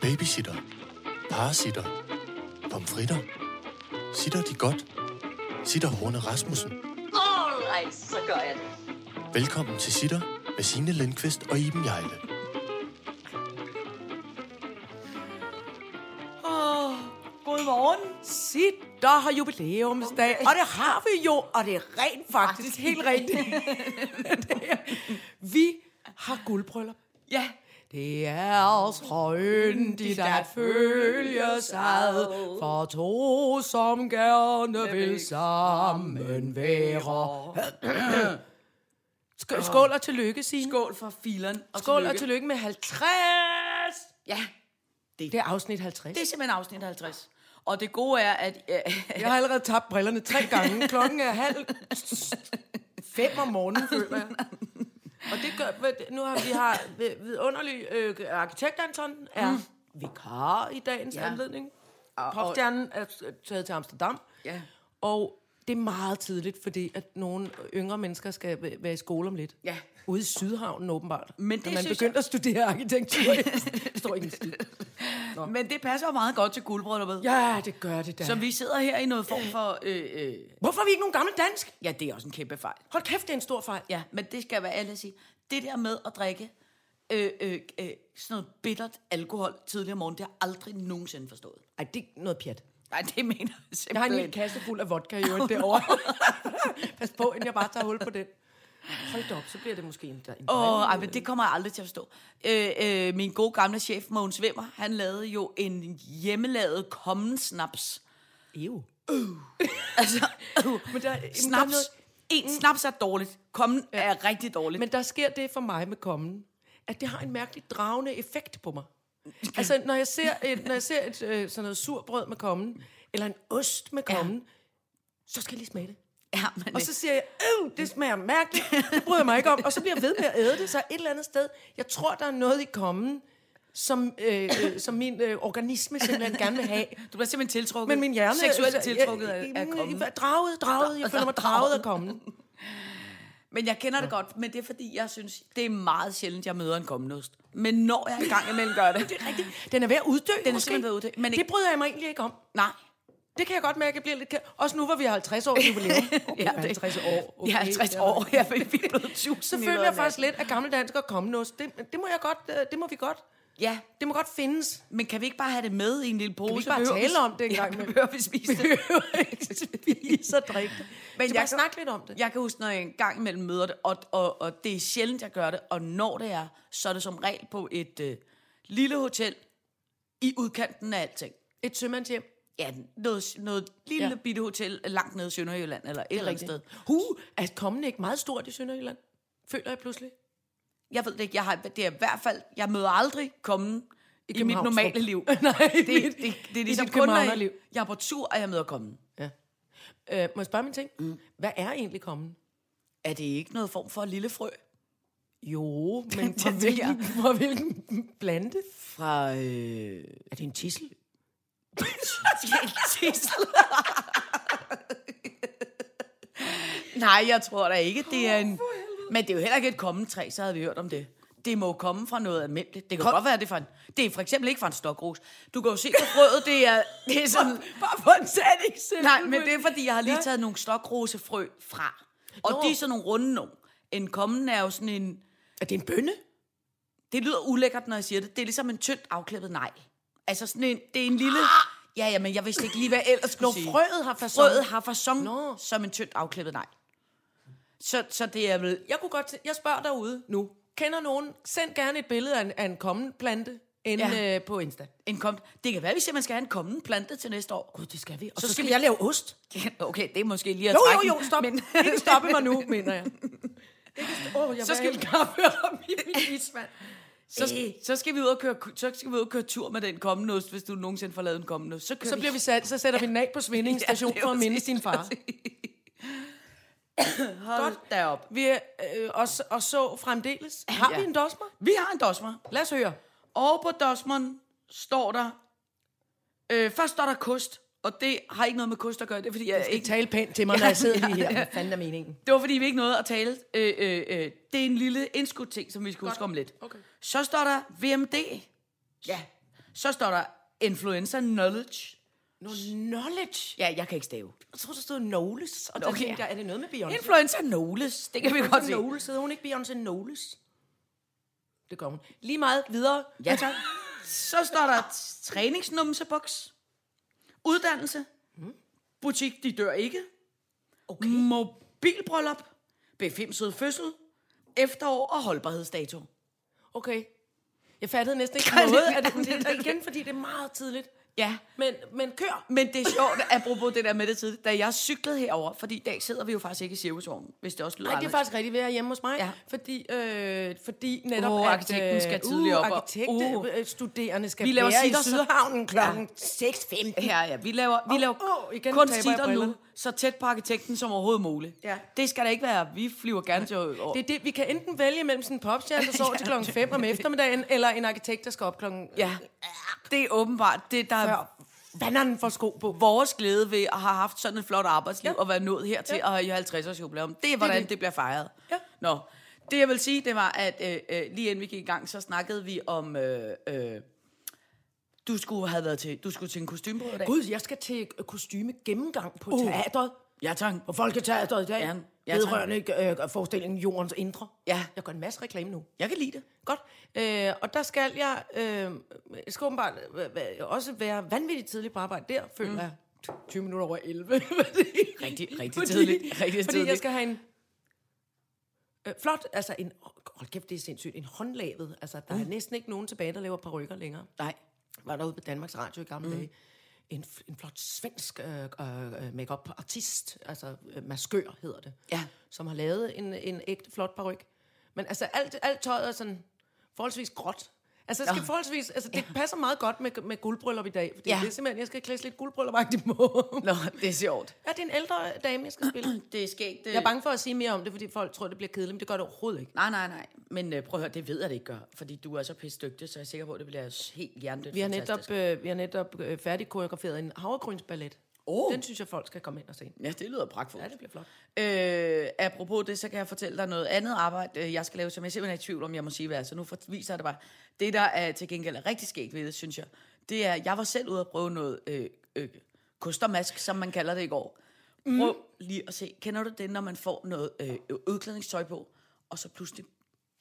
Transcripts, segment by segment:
Babysitter. Parasitter. Pomfritter. Sitter de godt? Sitter Horne Rasmussen. Alright, så gør jeg det. Velkommen til Sitter med Signe Lindqvist og Iben Jejle. Åh, Godmorgen. Sit, der har jubilæumsdag. Og det har vi jo, og det er rent faktisk helt rigtigt. Det er- vi har guldbryllup. Ja, Det er også røndigt at følge sig, for to, som gerne vil sammen være. Sk- Skål og tillykke, Signe. skål for fileren. Og Skål og tillykke med 50. Ja, Det er afsnit 50. det er simpelthen afsnit 50. Og det gode er, at... Øh, Jeg har allerede tabt brillerne tre gange. Klokken er halv fem om morgenen, føler jeg. Og det gør, ved- nu har vi har ved- vidunderlig øh, arkitekt Anton er vikar i dagens Mm. Ja. ja. anledning. Popstjernen er øh, taget til Amsterdam. ja. Og det er meget tidligt, fordi at nogle yngre mennesker skal væ- være i skole om lidt. Ja. Ude i Sydhavnen åbenbart. Men det Når man synes begyndte at studere arkitektur. Det står ikke en skid. Men det passer jo meget godt til guldbrylluppet. Ja, det gør det da. Så vi sidder her i noget form for... Øh, øh, Hvorfor er vi ikke nogen gammel dansk? ja, det er også en kæmpe fejl. Hold kæft, det er en stor fejl. Ja, men det skal jeg være ærlig at sige. Det der med at drikke øh, øh, øh, sådan noget bittert alkohol tidligere om morgenen, det har jeg aldrig nogensinde forstået. Ej, det er noget pjat. Nej, det mener jeg simpelthen. Jeg har en hel kasse fuld af vodka i øvrigt derovre. Pas på, inden jeg bare tager hul på den. Hold da op, så bliver det måske en, en Åh, ej, men det kommer jeg aldrig til at forstå. Øh, øh, min gode gamle chef, Mogens Vimmer, han lavede jo en hjemmelavet kommen snaps. Ew. Altså, øh, Men der, snaps. snaps. En snaps er dårligt. Kommen ja. er rigtig dårligt. Men, Mm. Men der sker det for mig med kommen, at det har en mærkelig dragende effekt på mig. Altså, når jeg ser et, når jeg ser et øh, sådan noget surbrød med kommen, eller en ost med kommen, ja. så skal jeg lige smage det. ja, men, Og så siger jeg, øh, det smager mærkeligt, det bryder jeg mig ikke om. Og så bliver jeg ved med at æde det, så et eller andet sted. Jeg tror, der er noget i kommen, som, øh, øh, som min øh, organisme simpelthen gerne vil have. du bliver simpelthen tiltrukket. Men min hjerne... øh, Seksuelt så- tiltrukket jeg- af, jeg- af kommen. jeg- Draget, draget. Jeg føler mig draget af kommen. Men jeg kender det godt, men det er fordi, jeg synes, det er meget sjældent, jeg møder en kommenost. Men når jeg engang imellem gør det. det er rigtigt. Den er ved at uddø, Den er simpelthen ved at uddø, men Men ikke- det bryder jeg mig egentlig ikke om. Nej. Det kan jeg godt mærke, jeg bliver lidt... ked- Også nu, hvor vi er 50 år jubilæum. Okay, Ja, det- 50 år. Okay, jeg er 50 år, jeg er vi er blevet 1000 Så føler jeg faktisk lidt, at gamle danskere kommer nu. Det, det, må jeg godt, øh, det må vi godt. Ja, Det må godt findes. men kan vi ikke bare have det med i en lille pose? vi ikke bare Behøver tale om det en gang Ja, imellem? behøver vi spise det? behøver ikke spise og drikke det. Men Men jeg jeg bare kan- snakke lidt om det. Jeg kan huske, når jeg engang imellem møder det, og, og, og det er sjældent, jeg gør det, og når det er, så er det som regel på et øh, lille hotel i udkanten af alting. Et sømandshjem. Ja, noget, noget lille ja. Ja. bitte hotel langt nede i Sønderjylland, eller et eller andet sted. Hu, er kommen ikke meget stort i Sønderjylland? Føler jeg pludselig. Jeg ved det ikke, jeg har, det er i hvert fald, jeg møder aldrig kommen i, i mit Københavnstrup. normale liv. Nej, det, i det, mit- det, det er i ligesom dit kun, når københavnerliv. jeg, jeg er på tur, og jeg møder kommen. Ja. Øh, må jeg spørge mig en ting? Mm. Hvad er egentlig kommen? Er det ikke noget form for lille frø? Jo, men fra det tænker hvilken, fra hvilken plante? Fra... Øh... Er det en tissel? Nej, jeg tror da ikke, det er en... Men det er jo heller ikke et kommentræ, så havde vi hørt om det. Det må jo komme fra noget almindeligt. Det kan godt være, det er fra en... Det er for eksempel ikke fra en stokros. Du kan jo se på frøet, det er, det er sådan... Bare for en sat eksempel. Nej, men det er, fordi jeg har lige Ja. taget nogle stokrosefrø fra. Og Nå. de er sådan nogle runde nogle. En kommen er jo sådan en... Er det en bønne? Det lyder ulækkert, når jeg siger det. Det er ligesom en tyndt afklippet nej. Altså sådan en, det er en lille... Ah! Ja, ja, men jeg vidste ikke lige, hvad jeg ellers skulle Når sige. frøet har fasong. Frøet har fasong Nå. som en tyndt afklippet nej. Så, så det er vel... Jeg kunne godt... tæ- jeg spørger derude nu. Kender nogen? Send gerne et billede af en, af en kommen plante ind Ja. ja. øh, på Insta. En kom... Det kan være, hvis man skal have en kommende plante til næste år. Gud, det skal vi. Og Så så, så skal skal vi- jeg lave ost. Okay, det er måske lige at Jo, trække jo, den, jo, stop. Men... Ikke stoppe mig nu, mener jeg. Oh, jeg Så skal vi kaffe om i min isvand. Så, Øh. så, skal vi ud og køre, så skal vi ud og køre tur med den kommende ost, hvis du nogensinde får lavet en kommende ost. Så, kører Så, bliver vi sat, så sætter vi den af på Svinding station Ja, det er for at minde præcis, sin far. Hold da op. Vi er, øh, og, s- og så fremdeles. Har Ja. vi en dosmer? Vi har en dosmer. Lad os høre. Og på dosmeren står der... Øh, først står der kost, og det har ikke noget med kost at gøre. Det er fordi, jeg Ikke ikke, tale pænt til mig, når jeg sidder lige her. Hvad fanden er meningen? det var fordi, vi ikke nåede at tale. Øh, øh, øh, det er en lille indskudt ting, som vi skal huske om lidt. Okay. Så står der VMD. Ja. Så står der influencer knowledge. Nå, knowledge. Ja, jeg kan ikke stave. Jeg troede, der stod Knowles. Og der Okay. tænkte jeg, er det noget med Beyoncé? Influencer knowledge. Det kan vi godt se. Knowles. Hedder hun ikke Beyoncé Knowles? Det gør hun. Lige meget videre. Ja, tak. Så står der t- træningsnumseboks. Uddannelse. Butik, de dør ikke. Mm. Okay. Mobilbryllup. Befimset fødsel. Efterår og holdbarhedsdato. Okay. Jeg fattede næsten ikke Kan noget det- af det, men Ja, det det- er igen, fordi det er meget tidligt. Ja, Men, men kør. men det er sjovt, apropos det der med det tidligt, da jeg cyklede herover, fordi i dag sidder vi jo faktisk ikke i cirkusvognen, hvis det også lyder Nej, det er faktisk rigtigt ved at hjemme hos mig, Ja. ja. fordi, øh, fordi netop Åh, at... øh, arkitekten skal tidligt op, og- uh. arkitektstuderende øh, skal Vi vi laver laver være sitter, i så- Sydhavnen klokken 6.15. Ja, ja, vi laver, vi Åh, laver åh, igen kun taber jeg sitter nu, brillerne. så tæt på arkitekten som overhovedet muligt. Ja. Det skal der ikke være. Vi flyver gerne til... Det er det, vi kan enten vælge mellem sådan en popstjerne, der sover til klokken 5 om eftermiddagen, eller en arkitekt, der skal op klokken... øh, Ja, det er åbenbart det, der er Før vanderen får sko på. vores glæde ved at have haft sådan et flot arbejdsliv ja. Ja. og være nået hertil Ja. og have i 50 års jubilæum. Det er, hvordan det, det. det. det bliver fejret. Ja. Nå, det jeg vil sige, det var, at øh, øh, lige inden vi gik i gang, så snakkede vi om... Øh, øh, du skulle have været til, du skulle til en kostymebrød i dag. Gud, jeg skal til øh, kostyme gennemgang på uh. teateret. Ja, tak. På Folketeateret i dag. Ja, Ja, ja, ja, tak. vedrørende øh, forestillingen Jordens Indre. Ja. Jeg gør en masse reklame nu. Jeg kan lide det. Godt. Øh, og der skal jeg, øh, jeg skal åbenbart øh, øh, også være vanvittigt tidlig på arbejde der, føler mm. jeg. 20 minutter over 11. Rigtig, rigtig tidligt. Rigtig fordi tidligt. jeg skal have en øh, flot, altså en, hold kæft, det er sindssygt, en håndlavet. Altså, der mm. er næsten ikke nogen tilbage, der laver parrykker længere. Nej. Var derude på Danmarks Radio i gamle mm. dage. En, f- en flot svensk øh, øh, makeup artist altså øh, maskør hedder det Ja. som har lavet en, en ægte flot paryk. Men altså, alt, alt tøjet er sådan forholdsvis gråt. Altså, jeg skal Nå. forholdsvis, altså, det passer meget godt med, med guldbryllup i dag, fordi Ja. ja. det er simpelthen, jeg skal klædes lidt guldbryllupagtigt på. Nå, det er sjovt. Er det en ældre dame, jeg skal spille? Det er skægt. Øh, Jeg er bange for at sige mere om det, fordi folk tror, det bliver kedeligt, men det gør det overhovedet ikke. Nej, nej, nej. Men øh, prøv at høre, det ved jeg det ikke gør, fordi du er så pisse dygtig, så jeg er sikker på, at det bliver s- helt hjernedødt. Vi har fantastisk. netop, øh, vi har netop øh, færdigkoreograferet en havregrynsballet. Åh. Den synes jeg, folk skal komme ind og se. Ja, det lyder pragtfuldt. Ja, det bliver flot. Øh, apropos det, så kan jeg fortælle dig noget andet arbejde, øh, jeg skal lave, som jeg simpelthen er i tvivl om, jeg må sige, hvad er. Så nu for- viser jeg det bare. Det, der er til gengæld er rigtig skægt ved det, synes jeg, det er, jeg var selv ude at prøve noget øh, øh, kostermask, som man kalder det i går. Mm. Prøv lige at se. Kender du det, når man får noget øh, udklædningstøj på, og så pludselig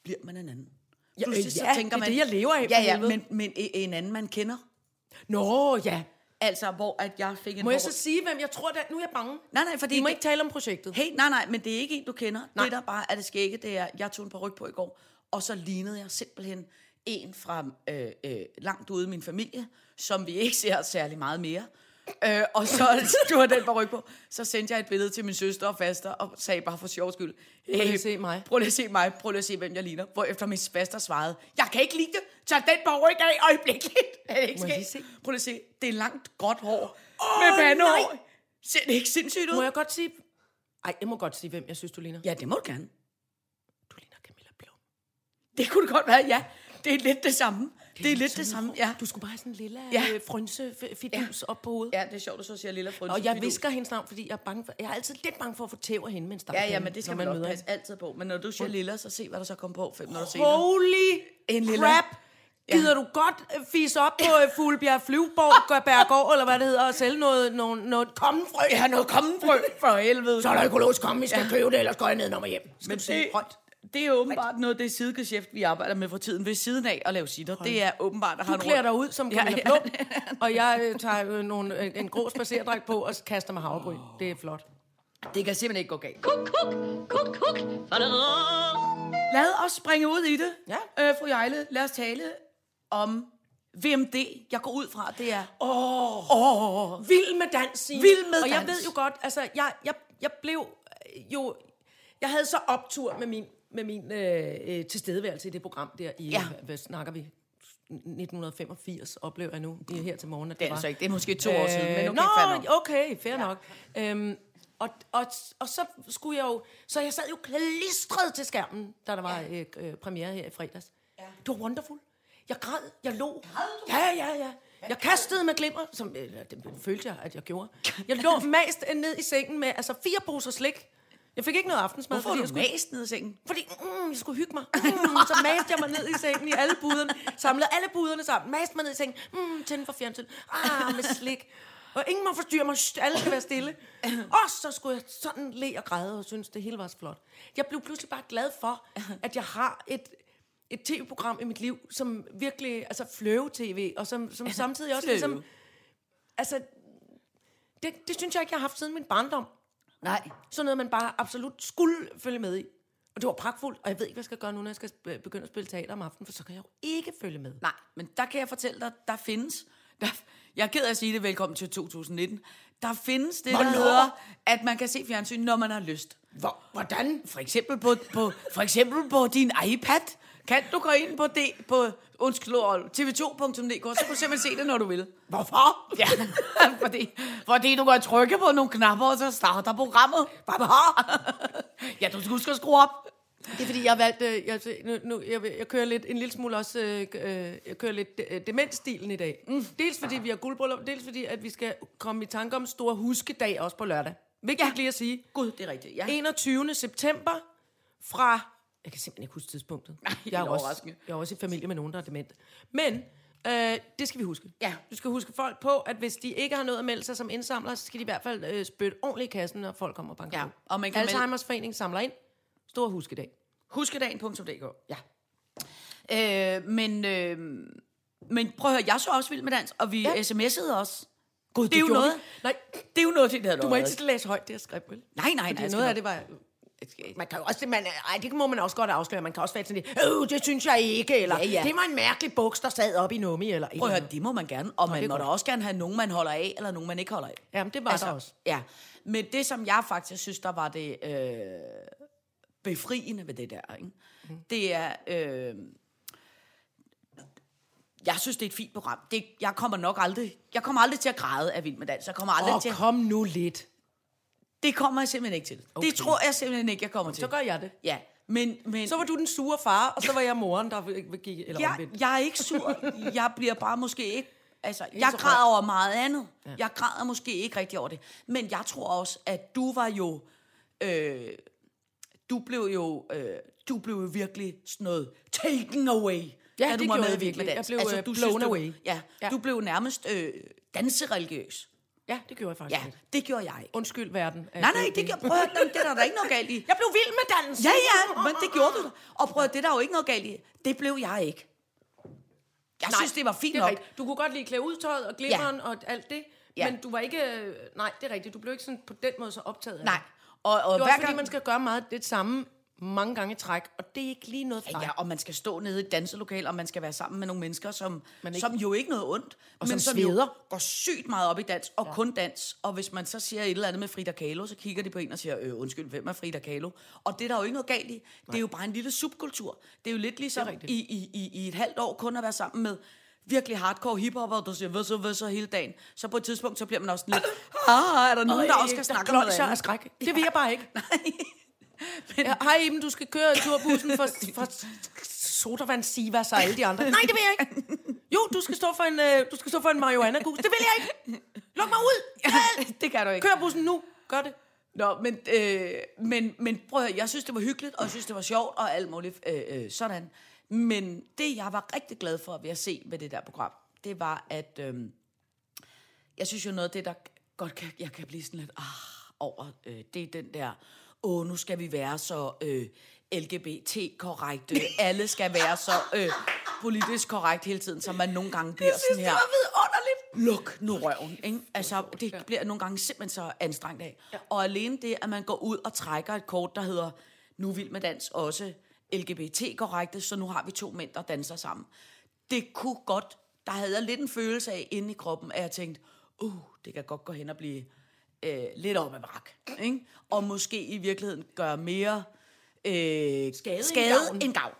bliver man en anden? Ja, øh, ja, det er det, jeg lever af, Ja, for ja, helvede. men, men e- en anden, man kender. Nå, ja. Altså, hvor at jeg fik en Må hår... jeg så sige, hvem jeg tror, der... Nu er jeg bange. Nej, nej, fordi... Vi må det- ikke tale om projektet. Hey, nej, nej, men det er ikke en, du kender. Nej. Nej. Det, der bare er det skægge, det er, jeg tog en par ryg på i går, og så lignede jeg simpelthen en fra øh, øh, langt ude i min familie, som vi ikke ser særlig meget mere. Øh, og så du har den par ryg på. Så sendte jeg et billede til min søster og faster, og sagde bare for sjov skyld, hey, lige at se mig." Prøv lige at se mig, prøv lige at se, hvem jeg ligner. Hvor efter min faster svarede, jeg kan ikke lide det, tag den par ryg af øjeblikkeligt. Er det ikke Må jeg skægt? lige se? Prøv lige at se, det er langt gråt hår oh, Åh, med pandehår. nej. Ser det ikke sindssygt ud? Må jeg godt sige... Ej, jeg må godt sige, hvem jeg synes, du ligner. Ja, det må du gerne. Du ligner Camilla Blom. Det kunne det godt være, ja. Det er lidt det samme. Det er lidt det samme, ja. Du skulle bare have sådan en lille Ja. ja. øh, frynse-fidus ja. op på hovedet. Ja. Ja, det er sjovt, at så siger Lilla Frønse. Og jeg visker hendes navn, fordi jeg er, bange for, jeg er altid lidt bange for at få tæv af hende med Ja, en stakkepinde, ja, men det skal når man, man nok møder passe altid på. Men når du siger Lilla, så se, hvad der så kom på fem minutter hende. senere. Holy En en lille- crap! Gider du godt øh, fise op på øh, Fuglebjerg Flyvborg, Gørbergård, eller hvad det hedder, og sælge noget, noget, noget kommenfrø? Ja, noget kommenbrød for helvede. Så er der økologisk komme, vi skal ja. købe det, ellers går jeg ned og hjem. Skal Men men du sige det, højt? det er åbenbart noget af det sidegeschæft, vi arbejder med for tiden ved siden af at lave sitter. Det er åbenbart at have Du klæder dig ud som Camilla ja. ja, Blom, og jeg øh, tager øh, nogle, øh, en grå spacerdragt på og kaster mig havregryn. Det er flot. Det kan simpelthen ikke gå galt. Kuk, kuk, kuk, kuk. Fadadadada. Lad os springe ud i det, Ja. øh, fru Jejle. Lad os tale om VMD. Jeg går ud fra, det er... Oh. Vild med dans, Signe. Vild med Og jeg dans. ved jo godt, altså, jeg, jeg, jeg blev øh, jo... Jeg havde så optur med min, med min øh, øh, tilstedeværelse i det program der i... Ja. Ja. Hvad, hvad snakker vi? 1985 oplever jeg nu i- her til morgen, at det, Det er var. altså ikke. Det er måske to øh, år siden, men okay, Nå, fair nok. okay, fair ja. nok. Øhm, og, og, og så skulle jeg jo... Så jeg sad jo klistret til skærmen, da der var ja. øh, øh, premiere her i fredags. Ja. Det var wonderful. Jeg græd, jeg lå. Ja, ja, ja. Jeg kastede med glimmer, som øh, det følte jeg, at jeg gjorde. Jeg lå mast ned i sengen med altså fire poser slik, Jeg fik ikke noget aftensmad, Hvorfor har jeg du skulle, mast ned i sengen? fordi mm, jeg skulle hygge mig. Mm, så maste jeg mig ned i sengen i alle buderne. Samlede alle buderne sammen. Maste mig ned i sengen. Mm, tændte for fjernsyn. Ah, med slik. Og ingen må forstyrre mig. Shh, alle skal være stille. Og så skulle jeg sådan le og græde og synes, det hele var så flot. Jeg blev pludselig bare glad for, at jeg har et et tv-program i mit liv, som virkelig, altså fløve-tv, og som, som samtidig også Fløve. ligesom, altså, det, det synes jeg ikke, jeg har haft siden min barndom. Nej. Sådan noget, man bare absolut skulle følge med i. Og det var pragtfuldt, og jeg ved ikke, hvad jeg skal gøre nu, når jeg skal sp- begynde at spille teater om aftenen, for så kan jeg jo ikke følge med. Nej, men der kan jeg fortælle dig, der findes... Der, jeg er ked af at sige det, velkommen til 2019. Der findes det, der Hvornår? hedder, at man kan se fjernsyn, når man har lyst. Hvor, hvordan? For eksempel på, på, for eksempel på din iPad. Kan du gå ind på, D, på undskyld, ordet, tv2.dk, så kan du simpelthen se det, når du vil. Hvorfor? Ja, fordi, fordi du kan trykke på nogle knapper, og så starter programmet. Ja, du skal huske at skrue op. Det er fordi, jeg har valgt, øh, jeg, nu, nu, jeg, jeg kører lidt, en lille smule også, øh, øh, jeg kører lidt øh, demensstilen i dag. Mm. Dels fordi vi har guldbryllup, dels fordi, at vi skal komme i tanke om store huskedag også på lørdag. Vigtigt ja. lige at sige. Gud, det er rigtigt. Ja. 21. september fra... Jeg kan simpelthen ikke huske tidspunktet. Nej, helt jeg er jo også, overraskende. jeg er jo også i familie med nogen, der er dement. Men øh, det skal vi huske. Ja. Du skal huske folk på, at hvis de ikke har noget at melde sig som indsamler, så skal de i hvert fald øh, spytte ordentligt i kassen, når folk kommer og banker Ja, på. og man kan melde- Alzheimer's Forening samler ind. Stor huskedag. Huskedagen.dk. Ja. Øh, men, øh, men prøv at høre, jeg så også vild med dans, og vi ja. Ja. sms'ede også. God, det, det er jo gjorde noget. vi. Nej. det er jo noget, det der Du må ikke læse højt, det jeg skrev, vel? Nej, nej, nej. altså, Fordi jeg skal noget af nok- det var... Man kan jo også, man, ej, det må man også godt afsløre. Man kan også være sådan lidt, øh, det synes jeg ikke, eller Ja, ja. det var en mærkelig buks, der sad op i nummi, eller Prøv at høre, det må man gerne, og man det er må da godt. også gerne have nogen, man holder af, eller nogen, man ikke holder af. Altså, Jamen, det var der også. Ja, men det, som jeg faktisk synes, der var det øh, befriende ved det der, ikke? Mhm. Mm. det er... Øh, jeg synes, det er et fint program. Det, jeg kommer nok aldrig... Jeg kommer aldrig til at græde af Vild med Dans. Jeg kommer aldrig Åh, til at kom nu lidt. Det kommer jeg simpelthen ikke til. Okay. Det tror jeg simpelthen ikke, jeg kommer til. Så gør jeg det. Ja, men... men Så var du den sure far, og så var jeg moren, der gik... Eller jeg, omvendt. jeg er ikke sur. Jeg bliver bare måske ikke... Altså, jeg så græder over meget andet. Ja. Jeg græder måske ikke rigtig over det. Men jeg tror også, at du var jo... Øh, du blev jo... Øh, du blev jo virkelig sådan noget taken away. Ja, da det du var gjorde med jeg i Vild med virkelig. Dans. Jeg blev, øh, du blown synes, du, away. Ja, ja, Ja. du blev nærmest øh, dansereligiøs. Ja, det gjorde jeg faktisk. Ja, lidt. det gjorde jeg ikke. Undskyld, verden. Altså, at Nej, nej, jeg- det, gør- prøv at høre, det er der da ikke noget galt i. Jeg blev vild med dans. Ja, ja, men det gjorde du. da. Og prøv at høre, det er der jo ikke noget galt i. Det blev jeg ikke. Jeg Nej, synes, det var fint Det er nok. rigtigt. Du kunne godt lide klæde udtøjet og glimmeren ja. og alt det, Ja. ja. men du var ikke... øh, Nej, det er rigtigt. Du blev ikke sådan på den måde så optaget af Nej. det. Og, og Det var hver også, fordi gang... man skal gøre meget det samme mange gange i træk, og det er ikke lige noget for Ja, og man skal stå nede i et danselokal, og man skal være sammen med nogle mennesker, som, Man ikke- som jo ikke noget ondt, og som jo sveder. går sygt meget op i dans, og ja. kun dans. Og hvis man så siger et eller andet med Frida Kahlo, så kigger de på en og siger, øh, undskyld, hvem er Frida Kahlo? Og det er der jo ikke noget galt i. Det er jo bare en lille subkultur. Det er jo lidt ligesom i, i, i, i et halvt år kun at være sammen med virkelig hardcore hiphopper, der siger, hvad så, hvad så hele dagen. Så på et tidspunkt, så bliver man også sådan lidt, ah, er der nogen, der også skal snakke om noget noget af andet? skræk. Det vil jeg bare ikke. Nej. Men... Ja, hej Iben, du skal køre turbussen for, for sodavand, Sivas og alle de andre. Nej, det vil jeg ikke. Jo, du skal stå for en, øh, du skal stå for en marihuana -gus. Det vil jeg ikke. Luk mig ud. det kan du ikke. Kør bussen nu. Gør det. Nå, men, øh, men, men prøv at høre, jeg synes, det var hyggeligt, og jeg synes, det var sjovt, og alt muligt øh, øh, sådan. Men det, jeg var rigtig glad for ved at se ved det der program, det var, at øh, jeg synes jo noget af det, der godt kan, jeg kan blive sådan lidt ah, over, øh, det er den der, åh, nu skal vi være så øh, LGBT-korrekte, alle skal være så øh, politisk korrekt hele tiden, som man nogle gange bliver sådan her vidunderligt. luk nu røven. Ikke? Altså, det bliver nogle gange simpelthen så anstrengt af. Og alene det, at man går ud og trækker et kort, der hedder Nu vil med dans også LGBT-korrekte, så nu har vi to mænd, der danser sammen. Det kunne godt, der havde jeg lidt en følelse af inde i kroppen, at jeg tænkte, uh, det kan godt gå hen og blive øh, lidt op ad brak. Ikke? Og måske i virkeligheden gøre mere øh, skade, end skade gavn. en gavn.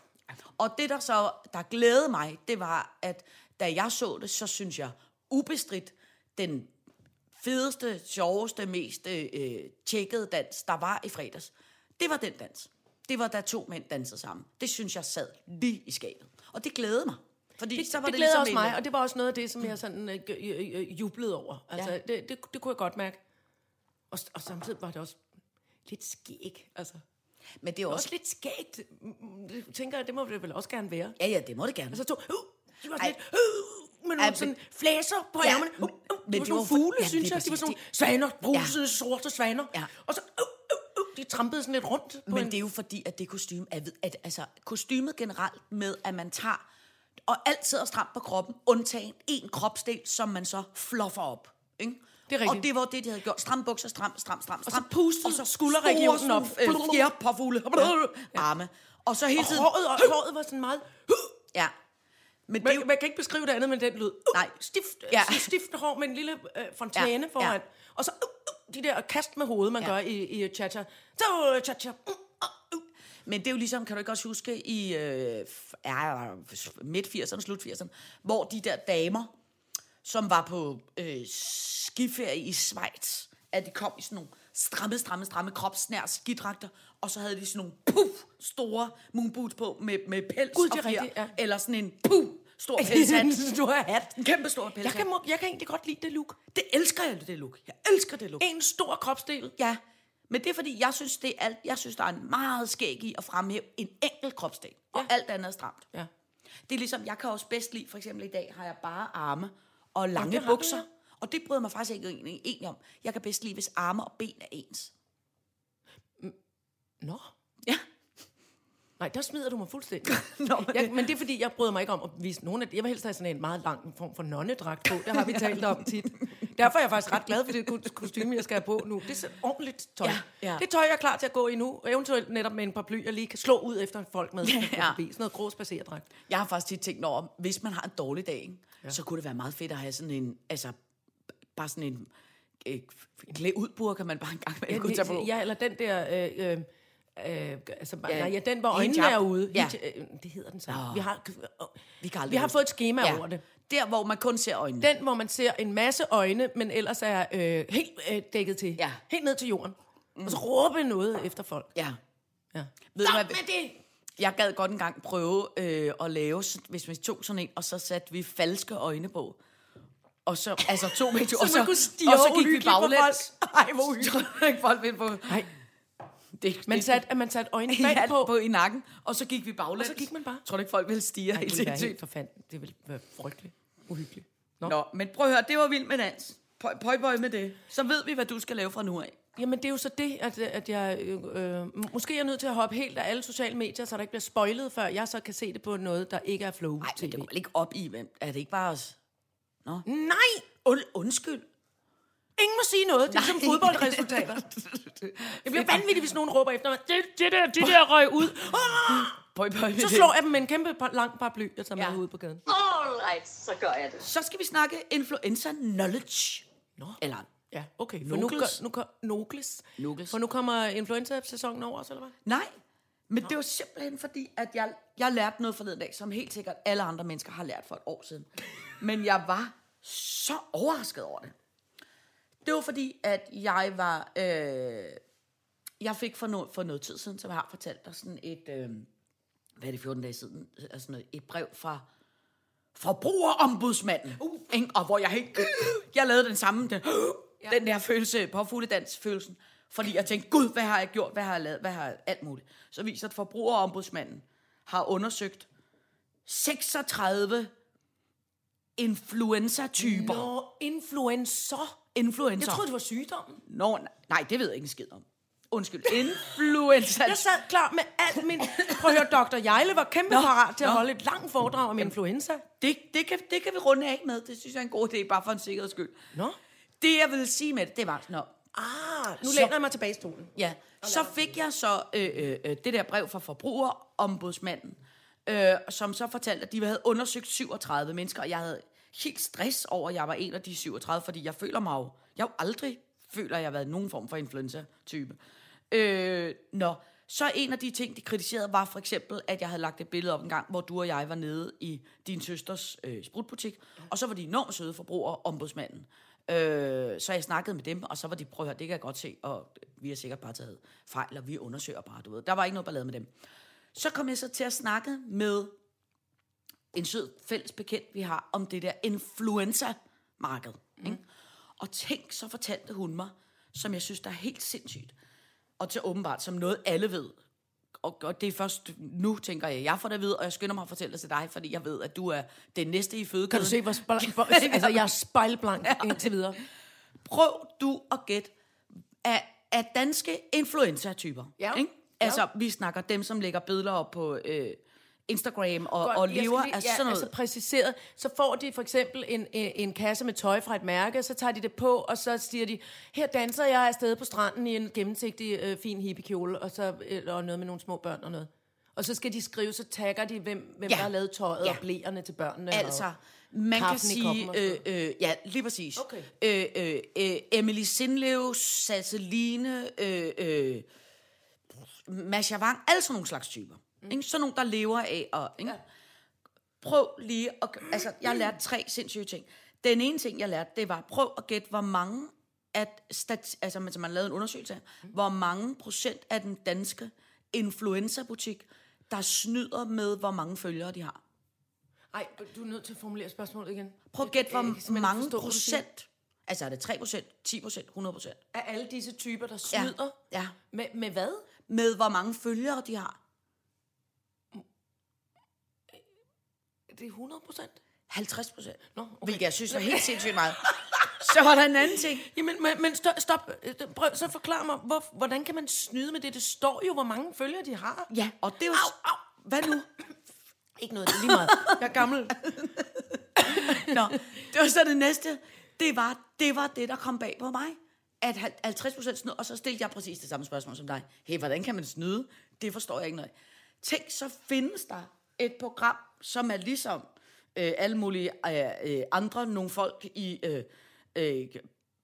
Og det, der så der glædede mig, det var, at da jeg så det, så synes jeg ubestridt den fedeste, sjoveste, mest øh, øh, tjekkede dans, der var i fredags. Det var den dans. Det var, da to mænd dansede sammen. Det synes jeg sad lige i skabet. Og det glædede mig. Fordi Det, så var det, det, det glæder ligesom også mig, en- og det var også noget af det, som jeg sådan øh, øh, øh, øh, jublede over. Altså, ja. det, det, det kunne jeg godt mærke. Og, og samtidig var det også... lidt skæg. Altså, Men det er også... også lidt skægt. Mm, Det tænker jeg, det må det vel også gerne være. Ja, ja, det må det gerne. Og så to, uh, de var Ej. sådan lidt, uh, med Ej, nogle men- sådan flæser på Ja, ærmerne. Uh, men- uh, men det de var sådan var nogle for- fugle, ja, synes lige jeg. De var præcis. sådan nogle Det- svaner, brusede, sorte svaner. Ja. Og så, uh, uh, uh, de trampede sådan lidt rundt på Men en... det er jo fordi, at det kostume, at, at, altså, kostymet generelt med, at man tager og alt sidder stramt på kroppen, undtagen en kropsdel, som man så fluffer op. Ikke? Det er rigtigt. Og det var det, de havde gjort. Stram bukser, stram, stram, stram, stram. pustede skulderregionen op. øh, Fjerpåfugle. Ja. Arme. Og så hele Og tiden... Altså, håret, og håret var sådan meget... Uh, Ja. Men det er man, jo... man kan ikke beskrive det andet med den lyd. Uh, Nej. Stift, Ja. ja. stift hår med en lille øh, fontæne Ja, ja. ja. foran. Og så uh, uh, de der kast med hovedet, man Ja. ja. gør i, i øh, cha-cha. Så øh, cha-cha. Uh, Men det er jo ligesom, kan du ikke også huske, i øh, f- ja, midt 80'erne, slut 80'erne, hvor de der damer, som var på øh, skiferie i Schweiz, at de kom i sådan nogle stramme, stramme, stramme kropsnær skidragter, og så havde de sådan nogle puff, store moonboots på med, med pels Gud, det er og fjer, rigtigt, ja. eller sådan en puff, stor en pelshat. stor hat. en kæmpe stor pelshat. Jeg kan, må- jeg kan egentlig godt lide det look. Det elsker jeg, det look. Jeg elsker det look. En stor kropsdel. Ja, men det er fordi, jeg synes, det er alt, jeg synes, der er en meget skæg i at fremhæve en enkelt kropsdel, og Ja. alt andet er stramt. Ja. Det er ligesom, jeg kan også bedst lide, for eksempel i dag har jeg bare arme og lange det har du, bukser. ja. Og det bryder jeg mig faktisk ikke egentlig enig om. Jeg kan bedst lide, hvis arme og ben er ens. Nå. Ja. Nej, der smider du mig fuldstændig. Nå, men jeg, men det er fordi, jeg bryder mig ikke om at vise nogen af Jeg vil helst have sådan en meget lang form for nonnedragt på. Det har vi talt om tit. Derfor er jeg faktisk ret glad for det ko- kostume, jeg skal have på nu. Det er sådan ordentligt tøj. Ja, ja. Det tøj, jeg er klar til at gå i nu. Og eventuelt netop med en par bly, jeg lige kan slå ud efter folk med. Ja. Ja. Forbi. Sådan noget grå spacerdragt. Jeg har faktisk tit tænkt over, hvis man har en dårlig dag, ikke? Ja. så kunne det være meget fedt at have sådan en, altså, bare sådan en, øh, en klæd ud kan man bare en gang med ja, kunne tage på. Ja, eller den der... Øh, øh, Øh, altså, ja, nej, ja, den, hvor hijab. øjnene er ude. Ja. Hij- øh, det hedder den så. Vi har, øh, Vi kan aldrig vi har huske fået et schema Ja. over det. Der, hvor man kun ser øjnene. Den, hvor man ser en masse øjne, men ellers er øh, helt øh, dækket til. Ja. Helt ned til jorden. Mm. Og så råbe noget efter folk. Ja. Ja. Ved du, Stop hvad, med det! jeg gad godt engang prøve øh, at lave, s- hvis vi tog sådan en, og så satte vi falske øjne på. Og så, altså to meter, Så og, man så, kunne stirre og så gik vi uhyggeligt på baglæns. folk. Ej, hvor uhyggeligt. folk ved på. Nej, Det, man det- satte, at man satte øjnene i bag alt på. på i nakken, og så gik vi baglæns. Og så gik man bare. Tror du ikke, folk ville stige Ej, helt det ville være helt sindssygt? for fanden. Det ville være frygteligt. Uhyggeligt. Nå. Nå. Nå, men prøv at høre, det var vildt med dans. Pøj, pøj, pøj med det. Så ved vi, hvad du skal lave fra nu af. Jamen, det er jo så det, at, at jeg... Øh, øh, måske er jeg nødt til at hoppe helt af alle sociale medier, så der ikke bliver spoilet, før jeg så kan se det på noget, der ikke er flow Nej, men TV. det går vel ikke op i, hvem? Er det ikke bare os? Nej! Und, undskyld. Ingen må sige noget. Det er Nej. som fodboldresultater. Det bliver vanvittigt, hvis nogen råber efter mig. Det, det der, det der røg ud. Ah! Pøj, pøj med Så det. slår jeg dem med en kæmpe par- lang paraply, jeg tager med Ja. ud på gaden. Alright, så gør jeg det. Så skal vi snakke influencer knowledge. Nå. Eller Ja, okay. For nu, Nokles. gør- nu, gør- Nokles. Nokles. For nu kommer influenza-sæsonen over os, eller hvad? Nej, men det var simpelthen fordi, at jeg, jeg lærte noget forleden dag, som helt sikkert alle andre mennesker har lært for et år siden. Men jeg var så overrasket over det. Det var fordi, at jeg var... Øh, jeg fik for noget, for noget tid siden, som jeg har fortalt dig, sådan et... Øh, hvad er det, 14 dage siden? Altså noget, et brev fra forbrugerombudsmanden. Uh. Ikke? Og hvor jeg helt... Jeg lavede den samme, den, den der følelse, påfugledansfølelsen. Fordi jeg tænkte, gud, hvad har jeg gjort? Hvad har jeg lavet? Hvad har jeg... Alt muligt. Så viser, at forbrugerombudsmanden har undersøgt 36 influenza-typer. No. Nå, influenza. Influencer. Jeg troede, det var sygdommen. Nå, nej, nej, det ved jeg ikke en skid om. Undskyld. Influenza. Jeg sad klar med alt min... Prøv at høre, doktor Jejle var kæmpe Nå, parat til at nå. holde et langt foredrag om influenza. Det, det, kan, det kan vi runde af med. Det synes jeg er en god idé, bare for en sikkerheds skyld. Nå. Det, jeg ville sige med det, det var... Nå, Ah, nu Så- læner jeg mig tilbage i stolen. ja. Så fik jeg så øh, øh, øh, det der brev fra forbrugerombudsmanden, øh, som så fortalte, at de havde undersøgt 37 mennesker, og jeg havde helt stress over, at jeg var en af de 37, fordi jeg føler mig jo... Jeg har jo aldrig føler, at jeg har været nogen form for influenza-type. Øh, nå, så en af de ting, de kritiserede, var for eksempel, at jeg havde lagt et billede op en gang, hvor du og jeg var nede i din søsters øh, sprutbutik, og så var de enormt søde forbrugere, ombudsmanden. Øh, så jeg snakkede med dem, og så var de, prøv at høre, det kan jeg godt se, og vi har sikkert bare taget fejl, og vi undersøger bare, du ved. Der var ikke noget ballade med dem. Så kom jeg så til at snakke med en sød fælles bekendt, vi har, om det der influenza-marked. Mm. Og tænk, så fortalte hun mig, som jeg synes, der er helt sindssygt. Og til åbenbart, som noget alle ved. Og, og det er først nu, tænker jeg, jeg får det at vide, og jeg skynder mig at fortælle det til dig, fordi jeg ved, at du er den næste i fødekæden. Kan du se, hvor spejl, hvor, altså, jeg er spejlblank indtil videre. prøv du at gætte af, af danske influencer-typer. Ja. Ikke? Ja. Altså, vi snakker dem, som lægger billeder op på øh, Instagram og, og jeg skal lever lige- af sådan noget. Altså præciseret, så får de for eksempel en, en, en kasse med tøj fra et mærke, så tager de det på, og så siger de, her danser jeg afsted på stranden i en gennemsigtig, øh, fin hippiekjole, og, så, øh, og noget med nogle små børn og noget. Og så skal de skrive, så tagger de, hvem, hvem Ja. der har lavet tøjet ja. Ja. og blæerne til børnene. Altså, og, man kan kaffen i sige... koppen og sådan Øh, øh, ja, lige præcis. Okay. Øh, øh, øh, Emily Sindlev, Sasseline, øh, øh, Masha Wang, alle sådan nogle slags typer. Mm. Ikke? Sådan nogle, der lever af og... Ikke? Ja. Prøv lige at... gø- Altså, jeg lærte tre sindssyge ting. Den ene ting, jeg lærte, det var, prøv at gætte, hvor mange at stat, altså man, så man lavede en undersøgelse af, Mm. hvor mange procent af den danske influencerbutik, der snyder med, hvor mange følgere de har. ej, du er nødt til at formulere spørgsmålet igen. Prøv at gætte, Jeg kan hvor simpelthen mange forstå, hvad du siger. procent. Altså er det 3 procent, 10 procent, 100 procent? Af alle disse typer, der snyder. Ja. ja. Med, med hvad? Med hvor mange følgere de har. Det er 100 procent. 50 procent. Nå, okay. Hvilket jeg synes var helt sindssygt meget. Så var der en anden ting. Jamen, men, men stop, stop. Øh, Prøv, så forklar mig, hvor, hvordan kan man snyde med det? Det står jo, hvor mange følgere de har. Ja, og det var... Au, au. Hvad nu? Ikke noget, det er lige meget. Jeg er gammel. Nå, det var så det næste. Det var det, var det der kom bag på mig. At hal- 50 procent snyd, og så stillede jeg præcis det samme spørgsmål som dig. Hey, hvordan kan man snyde? Det forstår jeg ikke noget. af. Tænk, så findes der et program, som er ligesom øh, alle mulige øh, øh, andre, nogle folk i øh, øh,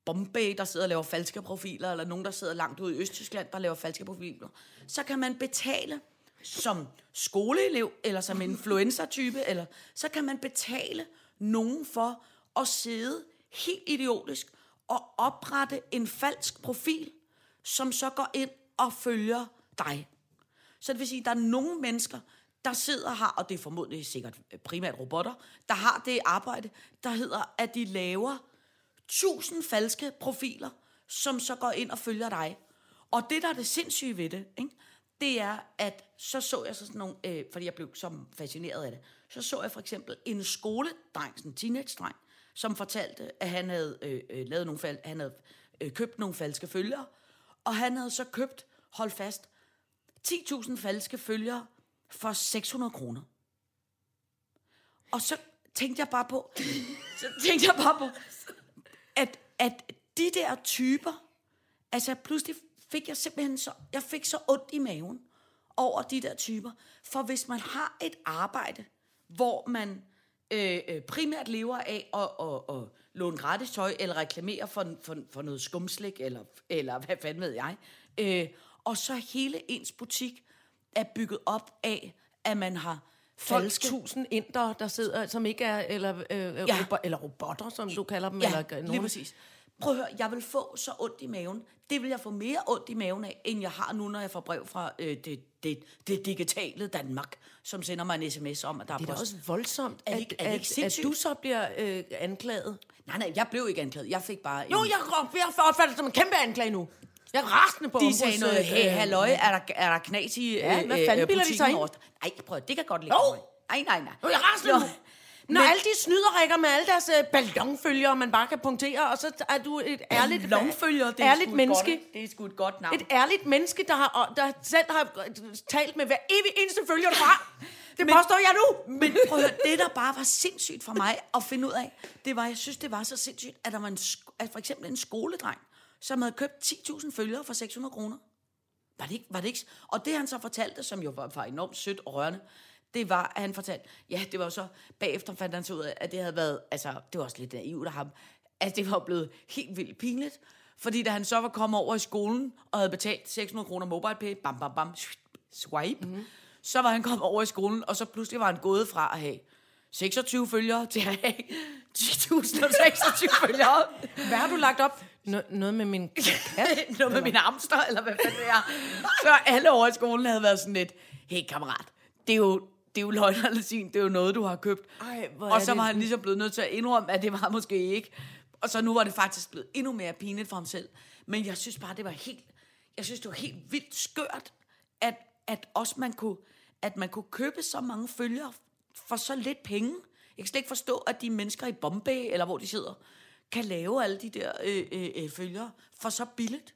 Bombay, der sidder og laver falske profiler, eller nogen, der sidder langt ude i Østtyskland, der laver falske profiler. Så kan man betale som skoleelev, eller som influencer-type, eller så kan man betale nogen for at sidde helt idiotisk og oprette en falsk profil, som så går ind og følger dig. Så det vil sige, at der er nogle mennesker, der sidder her, og det er formodentlig sikkert øh, primært robotter, der har det arbejde, der hedder, at de laver tusind falske profiler, som så går ind og følger dig. Og det, der er det sindssyge ved det, ikke? det er, at så så jeg så sådan nogle, øh, fordi jeg blev så fascineret af det, så så jeg for eksempel en skoledreng, sådan en teenage-dreng, som fortalte, at han havde, øh, øh, lavet nogle fal- han havde øh, købt nogle falske følgere, og han havde så købt, hold fast, 10.000 falske følgere for 600 kroner. Og så tænkte jeg bare på, så tænkte jeg bare på, at, at de der typer, altså pludselig fik jeg simpelthen så, jeg fik så ondt i maven over de der typer. For hvis man har et arbejde, hvor man øh, øh, primært lever af at, at, at, at låne gratis tøj, eller reklamere for, for, for noget skumslik, eller, eller hvad fanden ved jeg, øh, og så hele ens butik er bygget op af, at man har falske... 12.000 indere, der sidder, som ikke er, eller, øh, ja. robo- eller robotter, som du kalder dem. eller, Ja, nogen. lige præcis. Prøv at høre, jeg vil få så ondt i maven. Det vil jeg få mere ondt i maven af, end jeg har nu, når jeg får brev fra øh, det, det, det digitale Danmark, som sender mig en sms om, at der er, Det er da post. også voldsomt, Er at, det ikke- er det ikke at, at sindssygt? du så bliver øh, anklaget. Nej, nej, jeg blev ikke anklaget. Jeg fik bare... en- Jo, jeg, jeg opfatter det som en kæmpe anklage nu. Jeg er rasende på Øh, De sagde noget, hey, halløj, er der, er der knas i øh, Ja, hvad fanden bilder de sig butikken ind? over- Nej, prøv at- det kan godt ligge Jo. for mig. Nej, nej, nej. Nu er jeg rasende Nå, nu. Når alle de snyderrækker med alle deres øh, ballonfølgere, man bare kan punktere, og så er du et ærligt, Longfølger, det er sgu ærligt et menneske. Godt, det er sgu et godt navn. Et ærligt menneske, der, har, og der selv har øh, talt med hver evig eneste følger, du har. Det Men- påstår jeg nu. Men prøv at høre, det der bare var sindssygt for mig at finde ud af, det var, jeg synes, det var så sindssygt, at der var en, sk- at for eksempel en skoledreng, som havde købt 10.000 følgere for 600 kroner. Var det, ikke, var det ikke? s- Og det han så fortalte, som jo var, var enormt sødt og rørende, det var, at han fortalte, ja, det var jo så, bagefter fandt han så ud af, at det havde været, altså, det var også lidt naivt af ham, at det var blevet helt vildt pinligt, fordi da han så var kommet over i skolen, og havde betalt 600 kroner MobilePay, bam, bam, bam, swipe, mm-hmm. så var han kommet over i skolen, og så pludselig var han gået fra at have 26 følgere til at have 10.026 følgere. Hvad har du lagt op? N- noget med min... Noget med min hamster, eller hvad fanden det er. Så alle over i skolen havde været sådan lidt, hey kammerat, det er jo, det er jo løgn og lasin, det er jo noget, du har købt. Ej, hvor og er så det- var han ligesom blevet nødt til at indrømme, at det var måske ikke. Og så nu var det faktisk blevet endnu mere pinligt for ham selv. Men jeg synes bare, det var helt... jeg synes, det var helt vildt skørt, at, at også man kunne, at man kunne købe så mange følgere for så lidt penge. Jeg kan slet ikke forstå, at de mennesker i Bombay, eller hvor de sidder, kan lave alle de der øh, øh, øh, følgere for så billigt.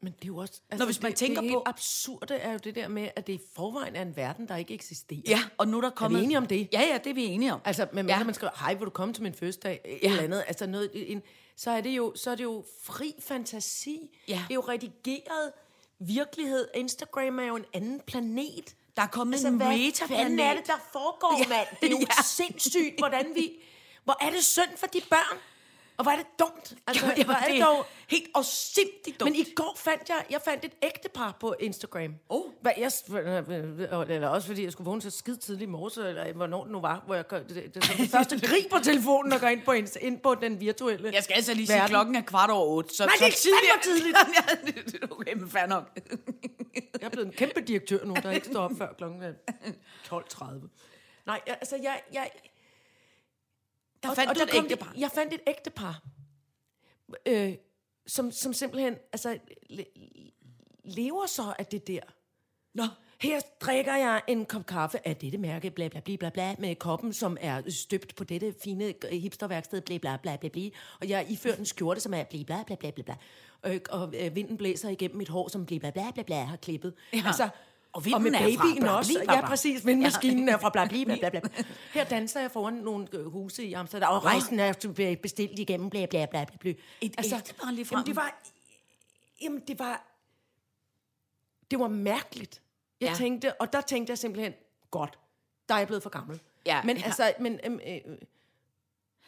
Men det er jo også... altså, Nå, hvis man det, tænker det på- helt absurde er jo det der med, at det i forvejen er en verden, der ikke eksisterer. Ja, og nu er der kommet... enige om det? Ja, ja, det er vi enige om. Altså, men ja. Ja. man skriver, hej, vil du komme til min fødselsdag? Ja. Eller andet. Altså noget, en, så, er det jo, så er det jo fri fantasi. Ja. Det er jo redigeret virkelighed. Instagram er jo en anden planet. Der er kommet Altså, en hvad fanden er metaplanet. det, der foregår, ja. Ja. mand? Det er jo ja. Ja. sindssygt, hvordan vi... Hvor er det synd for de børn? Og hvor er det dumt? Altså, Jo, hvor er det dog... helt afsindigt dumt. Men i går fandt jeg, jeg fandt et ægtepar på Instagram. Oh. Hvad jeg, eller også fordi jeg skulle vågne så skid tidligt i morges, eller hvornår det nu var, hvor jeg gør- det, det, det, det første griber telefonen og går ind på, Insta, ind på den virtuelle. Jeg skal altså lige sige, verden. at klokken er kvart over otte. Så, Nej, det er fandme tidligt. okay, men fair nok. Jeg er blevet en kæmpe direktør nu, der ikke står op før kl. 12.30. Nej, jeg- altså jeg... jeg Der fandt du et kom- ægtepar. Jeg fandt et ægtepar, øh, som, som simpelthen altså, le, lever så af det der. Nå, Her drikker jeg en kop kaffe af dette mærke, bla bla bla bla bla, med koppen, som er støbt på dette fine hipsterværksted, bla bla bla bla bla. Og jeg ifører en skjorte, som er bla bla bla bla bla bla. Øh, og øh, vinden blæser igennem mit hår, som bla bla bla bla bla har klippet. Altså, Ja. og, vinden og med er fra babyen bla, bla, også. bla, bla. Ja, præcis. Vindmaskinen er fra bla bla bla bla bla. Her danser jeg foran nogle øh, huse i Amsterdam, og rejsen er bestilt igennem bla bla bla bla Altså, bla. Et ægtepar lige jamen, frem. det var... Jamen, det var det var mærkeligt. Jeg ja. Ja. tænkte, og der tænkte jeg simpelthen, godt, der er jeg blevet for gammel. Ja, men ja. altså, men, øhm, øh,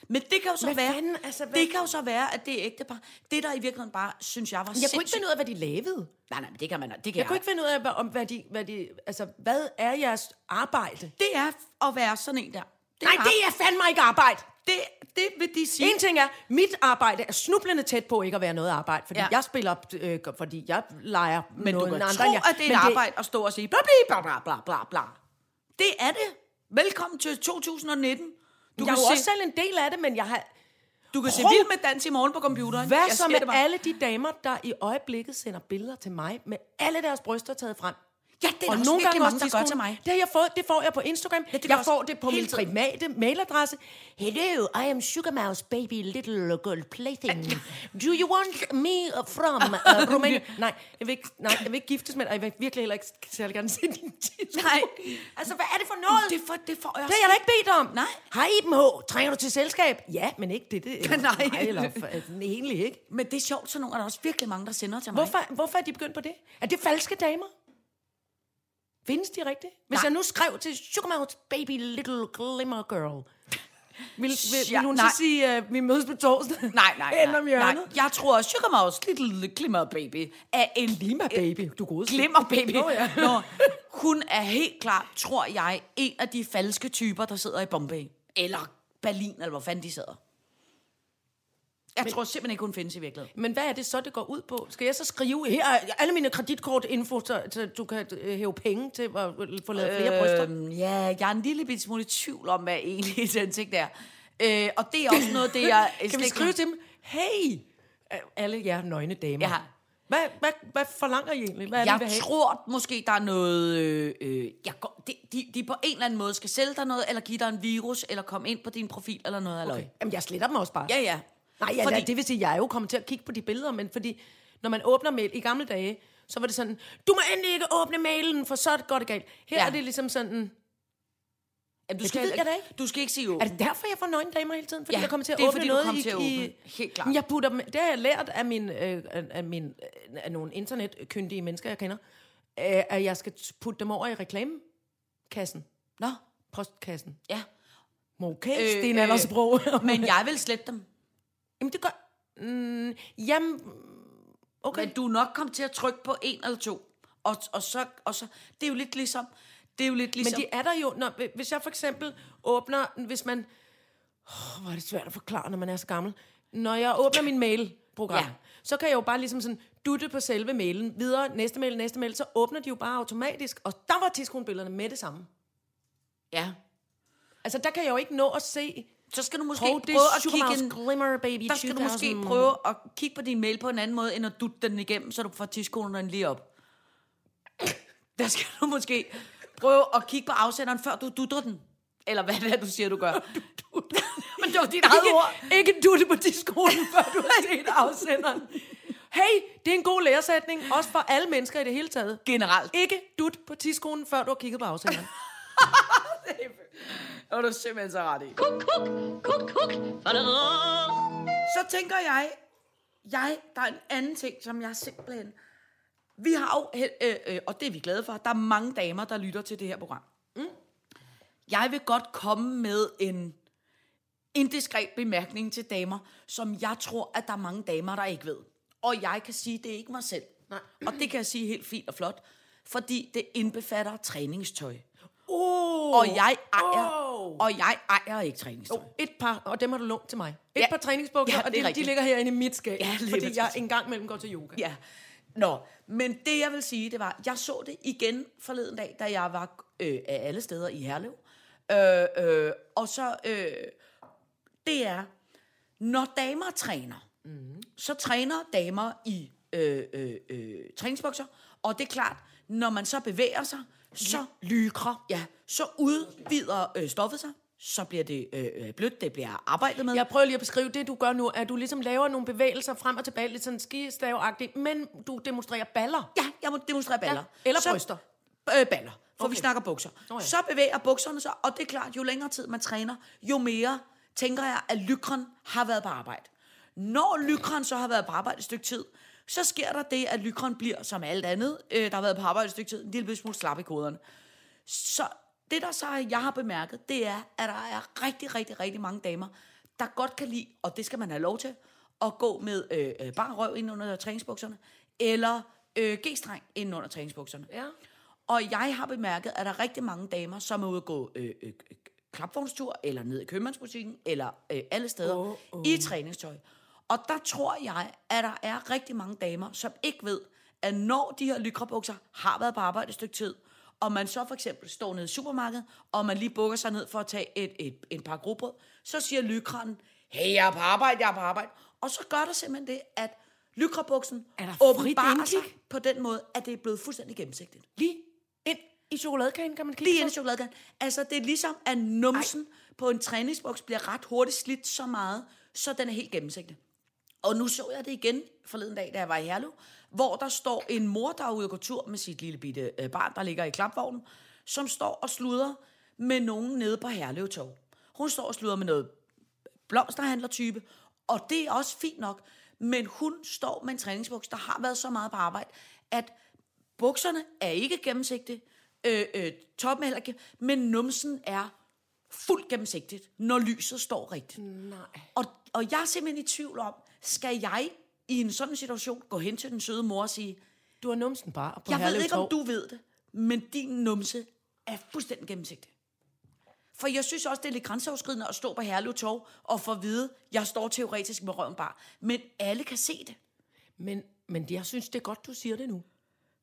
men det kan jo så Hvad være, fanden, altså, hvad- det kan jo så være, at det er ægtepar. Det der i virkeligheden bare, synes jeg var jeg kunne ikke finde ud af, hvad de lavede. Nej, nej, men det kan man. Det kan Jeg kunne ikke finde ud af, hvad, om, hvad, de, hvad, de, altså, hvad er jeres arbejde? Det er at være sådan en der. Det Nej, det er fandme ikke arbejde. det, det vil de sige. En ting er, mit arbejde er snublende tæt på ikke at være noget arbejde, fordi ja. Ja. jeg spiller, øh, fordi jeg leger Men noget du kan andre, tro, end jeg- at det er Men et arbejde at stå og sige bla bla bla bla bla bla. Det er det. Velkommen til 2019. Du Jeg kan, er jo se, også selv en del af det, men jeg har, du kan se Prøv- vild med dans i morgen på computeren. Hvad Jeg så siger med det bare. alle de damer, der i øjeblikket sender billeder til mig med alle deres bryster taget frem? Ja, det er og nogle gange mange, der gør til mig. Det, har jeg fået, det får jeg på Instagram. Ja, det gør jeg jeg får også det på hele min tiden. private mailadresse. Hello, I am Sugar Mouse Baby Little Girl Plaything. Do you want me from uh, Romania? nej, jeg vil ikke, nej, jeg vil ikke giftes med dig. og Jeg vil virkelig heller ikke særlig gerne se din titel. Nej. Altså, hvad er det for noget? Det, for, det får jeg Det har jeg da ikke bedt om. Nej. Hej Iben H. Trænger du til selskab? Ja, men ikke det. det eller Nej. mig, eller for, altså, egentlig ikke. Men det er sjovt, så nogle er der også virkelig mange, der sender til mig. Hvorfor, hvorfor er de begyndt på det? Er det falske damer? Findes de rigtigt? Hvis Nej. Nej. jeg nu skrev til Sugarmouth Baby Little Glimmer Girl, vil, vil, Ja, vil hun nej. så sige, at vi mødes på torsdag? Nej, nej, Hen om nej, hjørnet. nej. Jeg tror også, Sugar Mouse Little Glimmer Baby er en Lima Øh, Baby, du gode. glimmer baby. Nå, ja. Nå, hun er helt klart, tror jeg, en af de falske typer, der sidder i Bombay. Eller Berlin, eller hvor fanden de sidder. Jeg Men... tror simpelthen ikke, hun findes i virkeligheden. Men hvad er det så, det går ud på? Skal jeg så skrive, her er alle mine kreditkortinfo, så, så du kan øh, hæve penge til at få lavet flere øh, bryster? Øhm, ja, jeg er en lille bitte smule i tvivl om, hvad egentlig den ting er. Øh, og det er også noget, det jeg... Kan vi skrive til dem, hey, alle jer nøgne damer. Ja. Hvad, hvad, hvad forlanger I egentlig? Hvad er det, I vil Jeg have? tror måske, der er noget... Øh, øh, jeg går, de, de, de på en eller anden måde skal sælge dig noget, eller give dig en virus, eller komme ind på din profil, eller noget. Okay. Okay. Jamen, jeg sletter dem også bare. Ja, ja. Nej, ja, Fordi- fordi... det vil sige, jeg er jo kommet til at kigge på de billeder, men fordi, når man åbner mail i gamle dage, så var det sådan, du må endelig ikke åbne mailen, for så går det galt. Her ja. Ja. er det ligesom sådan, Jamen, du Det skal, ved heller jeg da Du skal ikke sige åben. er det derfor, jeg får nøgne damer hele tiden? Fordi Ja, jeg kommer til at det er, åbne fordi du noget kommer i, til at i... åbne. Helt klart. Jeg putter dem, det har jeg lært af, min, øh, af, af, min, øh, af nogle internetkyndige mennesker, jeg kender, øh, at jeg skal putte dem over i reklamekassen, Nå, postkassen. ja. Okay, Øh, øh, Sten øh, Anders Bro. Men jeg vil slette dem. Jamen, det gør... Mm, jamen, okay. Men du er nok kommet til at trykke på en eller to. Og, og, så, og så, det er jo lidt ligesom... Det er jo lidt Men ligesom... de er der jo, når, hvis jeg for eksempel åbner, hvis man, oh, hvor er det svært at forklare, når man er så gammel, når jeg åbner min mailprogram, ja. Ja. så kan jeg jo bare ligesom sådan dutte på selve mailen, videre, næste mail, næste mail, så åbner de jo bare automatisk, og der var tidskronbillederne med det samme. Ja. Altså der kan jeg jo ikke nå at se, Så skal du måske Prøv det prøve at kigge en, Supermouse Glimmer Baby der skal du 2000. måske prøve at kigge på din mail på en anden måde, end at dutte den igennem, så du får tidskolen lige op. Der skal du måske prøve at kigge på afsenderen, før du dutter den. Eller hvad det er, du siger, du gør. Men det var dit eget Ikke- ord. Ikke dutte på tidskolen, før du har set afsenderen. Hey, det er en god læresætning, også for alle mennesker i det hele taget. Generelt. Ikke dut på tidskolen, før du har kigget på afsenderen. Det var du simpelthen så ret i. Kuk, kuk, kuk, kuk. Fadadadada. Så tænker jeg, jeg, der er en anden ting, som jeg simpelthen... Vi har jo, hel- øh, øh, og det er vi glade for, der er mange damer, der lytter til det her program. Mm. Jeg vil godt komme med en indiskret bemærkning til damer, som jeg tror, at der er mange damer, der ikke ved. Og jeg kan sige, det er ikke mig selv. Nej. Og det kan jeg sige helt fint og flot, fordi det indbefatter træningstøj. Oh, Og jeg ejer, oh. og jeg ejer ikke træningstøj. Et par, og dem har du lånt til mig. Et Ja. ja. par træningsbukser, Ja, det er ja, og de, de rigtigt. ligger herinde i mit skab, Ja, ja, lige fordi præcis. jeg en gang imellem går til yoga. Ja. Nå, men det jeg vil sige, det var, jeg så det igen forleden dag, da jeg var øh, af alle steder i Herlev. Øh, øh, og så, øh, det er, når damer træner, mm. så træner damer i øh, øh, øh, træningsbukser, og det er klart, når man så bevæger sig, så lykrer, ja, så udvider øh, stoffet sig, så bliver det øh, øh, blødt, det bliver arbejdet med. Jeg prøver lige at beskrive det, du gør nu, at du ligesom laver nogle bevægelser frem og tilbage, lidt sådan skistaveagtigt, men du demonstrerer baller. Ja, jeg må demonstrere baller. Ja, eller bryster. Øh, baller, for okay. vi Okay. snakker bukser. Nå ja. Så bevæger bukserne sig, og det er klart, jo længere tid man træner, jo mere tænker jeg, at lykren har været på arbejde. Når lykren så har været på arbejde et stykke tid, så sker der det, at lykren bliver, som alt andet, øh, der har været på arbejde et stykke tid, en lille smule slap i koderne. Så det, der så jeg har bemærket, det er, at der er rigtig, rigtig, rigtig mange damer, der godt kan lide, og det skal man have lov til, at gå med øh, øh, bare røv ind under træningsbukserne, eller øh, g-streng ind under træningsbukserne. Ja. Og jeg har bemærket, at der er rigtig mange damer, som er ude at gå øh, øh, øh, klapvognstur, eller ned i købmandsbutikken, eller øh, alle steder, oh, oh. i træningstøj. Og der tror jeg, at der er rigtig mange damer, som ikke ved, at når de her lykrabukser har været på arbejde et stykke tid, og man så for eksempel står nede i supermarkedet, og man lige bukker sig ned for at tage et, et, en par grobrød, så siger lykranen, hey, jeg er på arbejde, jeg er på arbejde. Og så gør der simpelthen det, at lykrabuksen Er der frit åbenbarer sig indkig? på den måde, at det er blevet fuldstændig gennemsigtigt. Lige ind i chokoladekagen, kan man kigge Lige ind i på. chokoladekagen. Altså, det er ligesom, at numsen Ej. på en træningsboks bliver ret hurtigt slidt så meget, så den er helt gennemsigtig. Og nu så jeg det igen forleden dag, da jeg var i Herlev, hvor der står en mor, der er ude og gå tur med sit lille bitte øh, barn, der ligger i klapvognen, som står og sluder med nogen nede på Herlev Torv. Hun står og sluder med noget blomsterhandler-type, og det er også fint nok, men hun står med en træningsbuks, der har været så meget på arbejde, at bukserne er ikke gennemsigtige, øh, øh, toppen er heller ikke, men numsen er fuldt gennemsigtigt, når lyset står rigtigt. Nej. Og, og jeg er simpelthen i tvivl om, skal jeg i en sådan situation gå hen til den søde mor og sige, Du har numsen bare på jeg ved Herlev ikke, om Torv. du ved det, men din numse er fuldstændig gennemsigtig. For jeg synes også, det er lidt grænseoverskridende at stå på Herlev Torv og få at vide, jeg står teoretisk med røven bare. Men alle kan se det. Men, men jeg synes, det er godt, du siger det nu.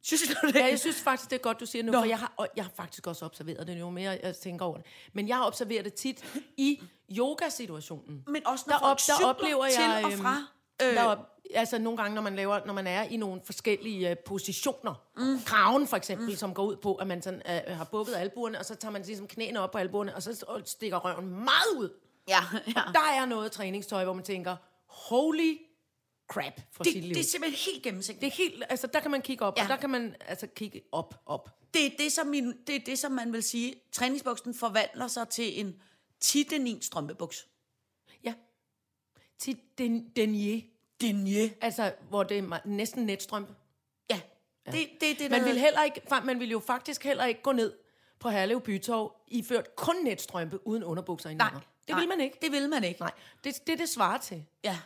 Synes du det? Ja, jeg synes faktisk, det er godt, du siger det nu, Nå. Nå. for jeg har, og jeg har faktisk også observeret det, jo mere jeg tænker over det. Men jeg har observeret det tit i yogasituationen. Men også når Der, folk op, der cykler oplever til jeg... og øhm, fra. øh, Der op, altså nogle gange, når man, laver, når man er i nogle forskellige øh, positioner. Mm. Kraven for eksempel, mm. som går ud på, at man sådan, øh, har bukket albuerne, og så tager man ligesom knæene op på albuerne, og så s- og stikker røven meget ud. Ja, ja. Der er noget træningstøj, hvor man tænker, holy crap for Det, sit liv. det er simpelthen helt gennemsigtigt. Det er helt, altså der kan man kigge op, Ja. ja. og der kan man altså kigge op, op. det er det, som min, det er det, som man vil sige, træningsbuksen forvandler sig til en titenin strømpebuks. Ja. Til den, denier, Denje. altså hvor det er me- næsten netstrømpe. Ja, ja. Det, det er det, der Man ville, hedder- heller ikke, fa- man ville jo faktisk heller ikke gå ned på Herlev Bytorv, iført kun netstrømpe uden underbukser indenunder. Nej, det vil man ikke. Det vil man ikke. Nej, det, det, det svarer til. Ja.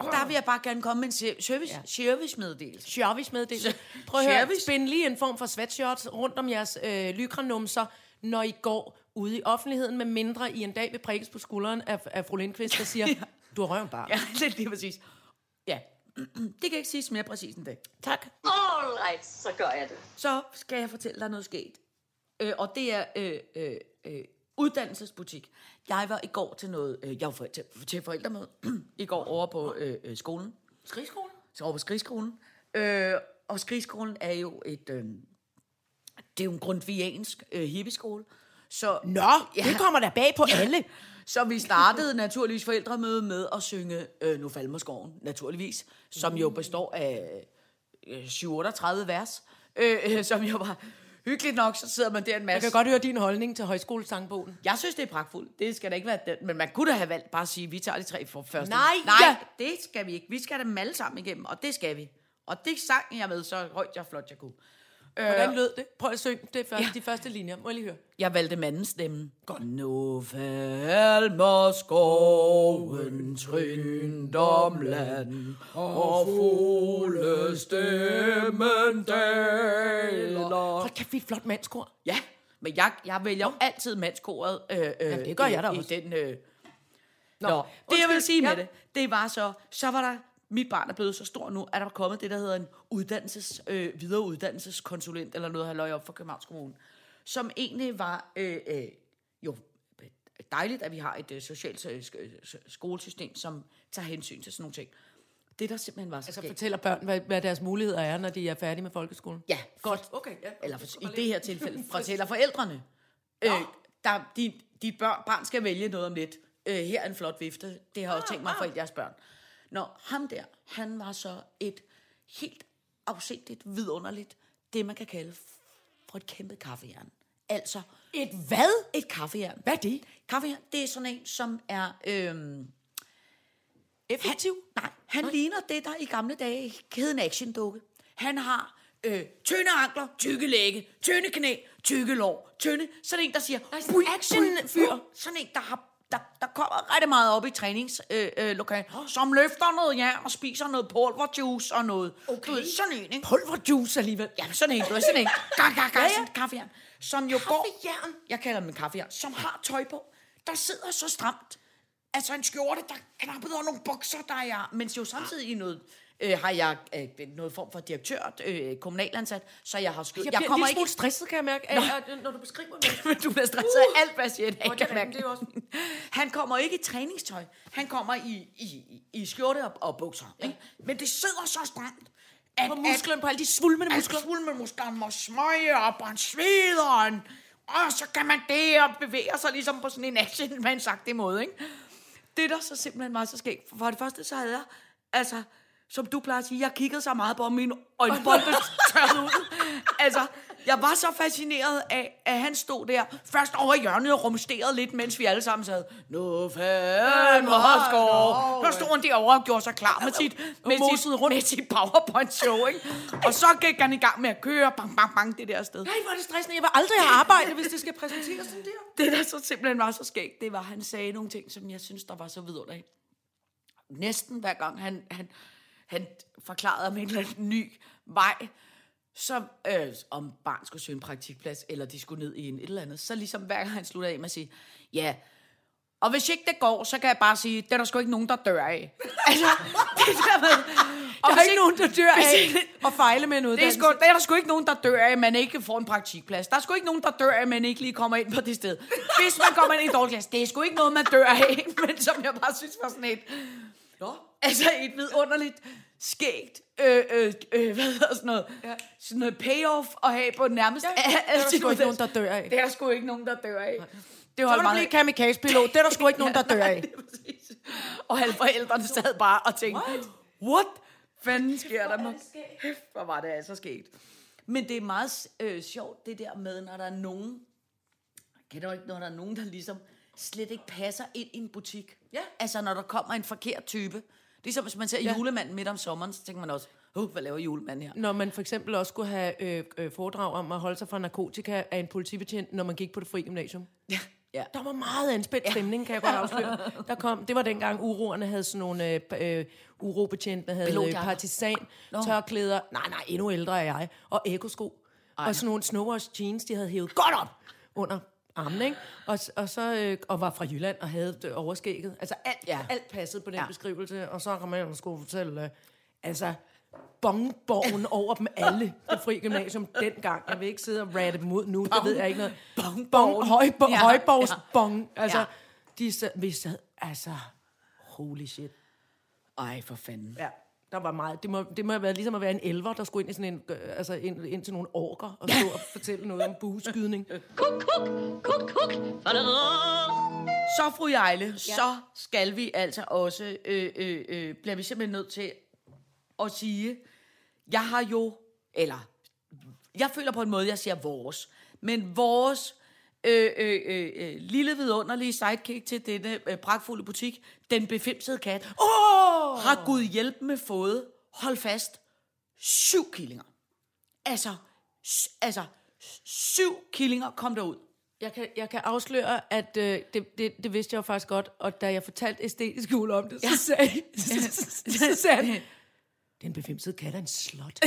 Der vil jeg bare gerne komme med en se- service, ja. servicemeddelelse. Sjørvis meddeler. Prøv at høre, Service? spænd lige en form for sweatshirts rundt om jeres øh, lykranumser, når I går ude i offentligheden, med mindre I en dag vil prikkes på skulderen af, af fru Lindqvist, der siger, ja. du har røven bare. Ja. det er lige præcis. Ja, det kan ikke siges mere præcis end det. Tak. All right, så gør jeg det. Så skal jeg fortælle dig noget sket. Øh, og det er øh, øh, øh, uddannelsesbutik. Jeg var i går til noget, øh, jeg var for, til, til forældremøde i går over på øh, øh, skolen, Skrigskolen? så over på Skrigskolen. Øh, og Skrigskolen er jo et, øh, det er jo en grundtviansk øh, hippieskole. Så, Nå, ja. det kommer der bag på ja. alle. så vi startede naturligvis forældremøde med at synge øh, Nu falmer skoven, naturligvis, som jo består af øh, 738 vers, øh, øh, som jo var hyggeligt nok, så sidder man der en masse. Jeg kan godt høre din holdning til højskolesangbogen. Jeg synes, det er pragtfuldt. Det skal da ikke være den. Men man kunne da have valgt bare at sige, at vi tager de tre for første. Nej, Nej ja. det skal vi ikke. Vi skal dem alle sammen igennem, og det skal vi. Og det sang jeg med så højt jeg flot jeg kunne. Hvordan lød det? Prøv at synge det første, Øh. ja. de første linjer. Må jeg lige høre? Jeg valgte mandens stemme. Godt. Nu falmer skoven trynt om land, og fuglestemmen daler. Hold kæft, vi er et flot mandskor. Ja, men jeg, jeg vælger jo altid mandskoret. Øh, øh, ja, det gør jeg da i, også. I den, øh... Nå, Nå, det jeg undskyld, vil sige med ja. det, det var så, så var der, mit barn er blevet så stor nu, at der er kommet det, der hedder en uddannelses, øh, videreuddannelseskonsulent, eller noget halvøj op for Københavns Kommune, som egentlig var, øh, øh, jo, dejligt, at vi har et øh, socialt øh, sk- øh, skolesystem, som tager hensyn til sådan nogle ting. Det, der simpelthen var så Altså skægt- fortæller børn, hvad, hvad deres muligheder er, når de er færdige med folkeskolen. Ja, Godt. Okay, ja. eller for, i det her tilfælde, fortæller forældrene. Øh, der, dit, dit børn, barn skal vælge noget om lidt. Øh, her er en flot vifte. Det har jeg Ah, også tænkt mig for jeres børn. Nå, ham der, han var så et helt afsindigt, vidunderligt, det man kan kalde for et kæmpe kaffejern. Altså, Et hvad? et kaffejern. Hvad er det? Kaffejern, det er sådan en, som er... Øhm, Effektiv? Nej, han Nej. ligner det, der i gamle dage hed en actiondukke. Han har øh, tynde ankler, tykke lægge, tynde knæ, tykke lår, tynde. Sådan en, der siger... Nej, sådan en "Bui, actionfyr." bui." Sådan en, der har... Der, der kommer rigtig meget op i træningslokalet, øh, øh, lokal, som løfter noget jern og spiser noget pulverjuice og noget. Okay. Du ved, sådan en, ikke? Pulverjuice alligevel. Ja, sådan en, du er sådan en. Gang, gang, gang, sådan en kaffejern. Som jo Kaffejern? går... Jeg kalder dem en kaffejern. Som har tøj på, der sidder så stramt. Altså en skjorte, der er knappet over nogle bukser, der er... Mens jo samtidig i noget... Øh, har jeg øh, noget form for direktør, øh, kommunalansat, så jeg har skjort. Jeg, jeg bliver en lille smule stresset, kan jeg mærke, af, at, når du beskriver det. Men du bliver stresset af alt, hvad siger Nå, jeg det er kan mærke. rigtigt, det er også- Han kommer ikke i træningstøj. Han kommer i, i, i- i skjorte og, og bukser. Ikke? Men det sidder så stramt, at, På at musklen, på alle de svulmende muskler. muskler. fuld med muskler, han må smøge op, og han sveder, og, han, og så kan man det, og bevæger sig ligesom på sådan en actionman-sagtig måde, ikke? Det der så simpelthen var så skægt, for- for det første så havde jeg, altså, som du plejer at sige, jeg kiggede så meget på om mine øjenbombe tørrede ud. Altså, jeg var så fascineret af, at han stod der, først over i hjørnet og rumsterede lidt, mens vi alle sammen sad, nu fandme skov. Så stod han derovre og gjorde sig klar med sit, med mosede sit, med sit PowerPoint-show, ikke? Og så gik han i gang med at køre, bang, bang, bang, det der sted. Nej, hvor er det stressende. Jeg vil aldrig have arbejde, hvis det skal præsenteres sådan der. Det, der så simpelthen var så skægt, det var, at han sagde nogle ting, som jeg synes, der var så vidunderligt. Næsten hver gang han, han, han forklarede om en eller anden ny vej, så øh, om barn skulle søge en praktikplads, eller de skulle ned i en et eller andet, så ligesom hver gang han sluttede af med at sige, ja, og hvis ikke det går, så kan jeg bare sige, det er der sgu ikke nogen, der dør af. altså, det der med, og Der hvis er ikke nogen, der dør hvis af ikke- at fejle med en det er, uddannelse. sgu, der er der sgu ikke nogen, der dør af, at man ikke får en praktikplads. Der er sgu ikke nogen, der dør af, at man ikke lige kommer ind på det sted. Hvis man kommer ind i en dårlig klasse, det er sgu ikke noget, man dør af. Men som jeg bare synes var sådan et... Nå. Altså et vidunderligt, skægt, øh, øh, øh, hvad hedder sådan noget, ja. sådan noget payoff at have på nærmest Ja, ja, det er der alle sgu sine ikke nogen, uddannelser. der dør af. Det er der sgu ikke nogen, der dør af. Det Så må du blive kamikaze-pilot. Det er der sgu ikke nogen, der dør af. det er præcis. Og alle forældrene sad bare og tænkte, what? what? Fanden sker der med? Hæft, Hvor var det altså sket. Men det er meget øh, sjovt, det der med, når der er nogen, kan du ikke, når der er nogen, der ligesom slet ikke passer ind i en butik. Ja. Altså, når der kommer en forkert type. Ligesom hvis man ser ja. julemanden midt om sommeren, så tænker man også, uh, hvad laver julemanden her? Når man for eksempel også skulle have øh, øh, foredrag om at holde sig fra narkotika af en politibetjent, når man gik på det frie gymnasium. Ja. ja. Der var meget anspændt stemning, kan jeg godt afsløre. Der kom, det var dengang uroerne havde sådan nogle øh, p- øh, urobetjentene, havde øh, Pilotjakker. partisan, tørklæder, nej, nej, endnu ældre er jeg, og ekosko. Og sådan nogle snowwash jeans, de havde hævet godt op under armen, ikke? Og, s- og, så, øh, og var fra Jylland og havde øh, overskægget. Altså alt, ja. Ja. alt passede på den ja. beskrivelse, og så kom jeg og skulle fortælle, øh, altså... bongborgen over dem alle på Fri Gymnasium dengang. Jeg vil ikke sidde og ratte dem ud nu, det ved jeg ikke noget. Bong, Bongborgen. højbo, Ja, højborgs ja. bong. Altså, Ja. de sad, vi sad, altså, holy shit. Ej, for fanden. Ja, der var meget. Det må, det må have været ligesom at være en elver, der skulle ind, i sådan en, øh, altså ind, ind til nogle orker og stå og fortælle noget om bueskydning. Kuk, kuk, kuk, kuk. Fadadadam. Så, fru Jejle, ja. så skal vi altså også, øh, øh, øh, bliver vi simpelthen nødt til at sige, jeg har jo, eller jeg føler på en måde, jeg siger vores, men vores øh, øh, øh, øh, lille vidunderlige sidekick til denne øh, pragtfulde butik, den befimsede kat, oh! har Gud hjælp med fået, hold fast, syv killinger. Altså, s- altså, s- syv killinger kom derud. Jeg kan, jeg kan afsløre, at øh, det, det, det vidste jeg jo faktisk godt, og da jeg fortalte æstetisk jul om det, ja. så, sagde, så sagde han, den befimsede kat er en slot.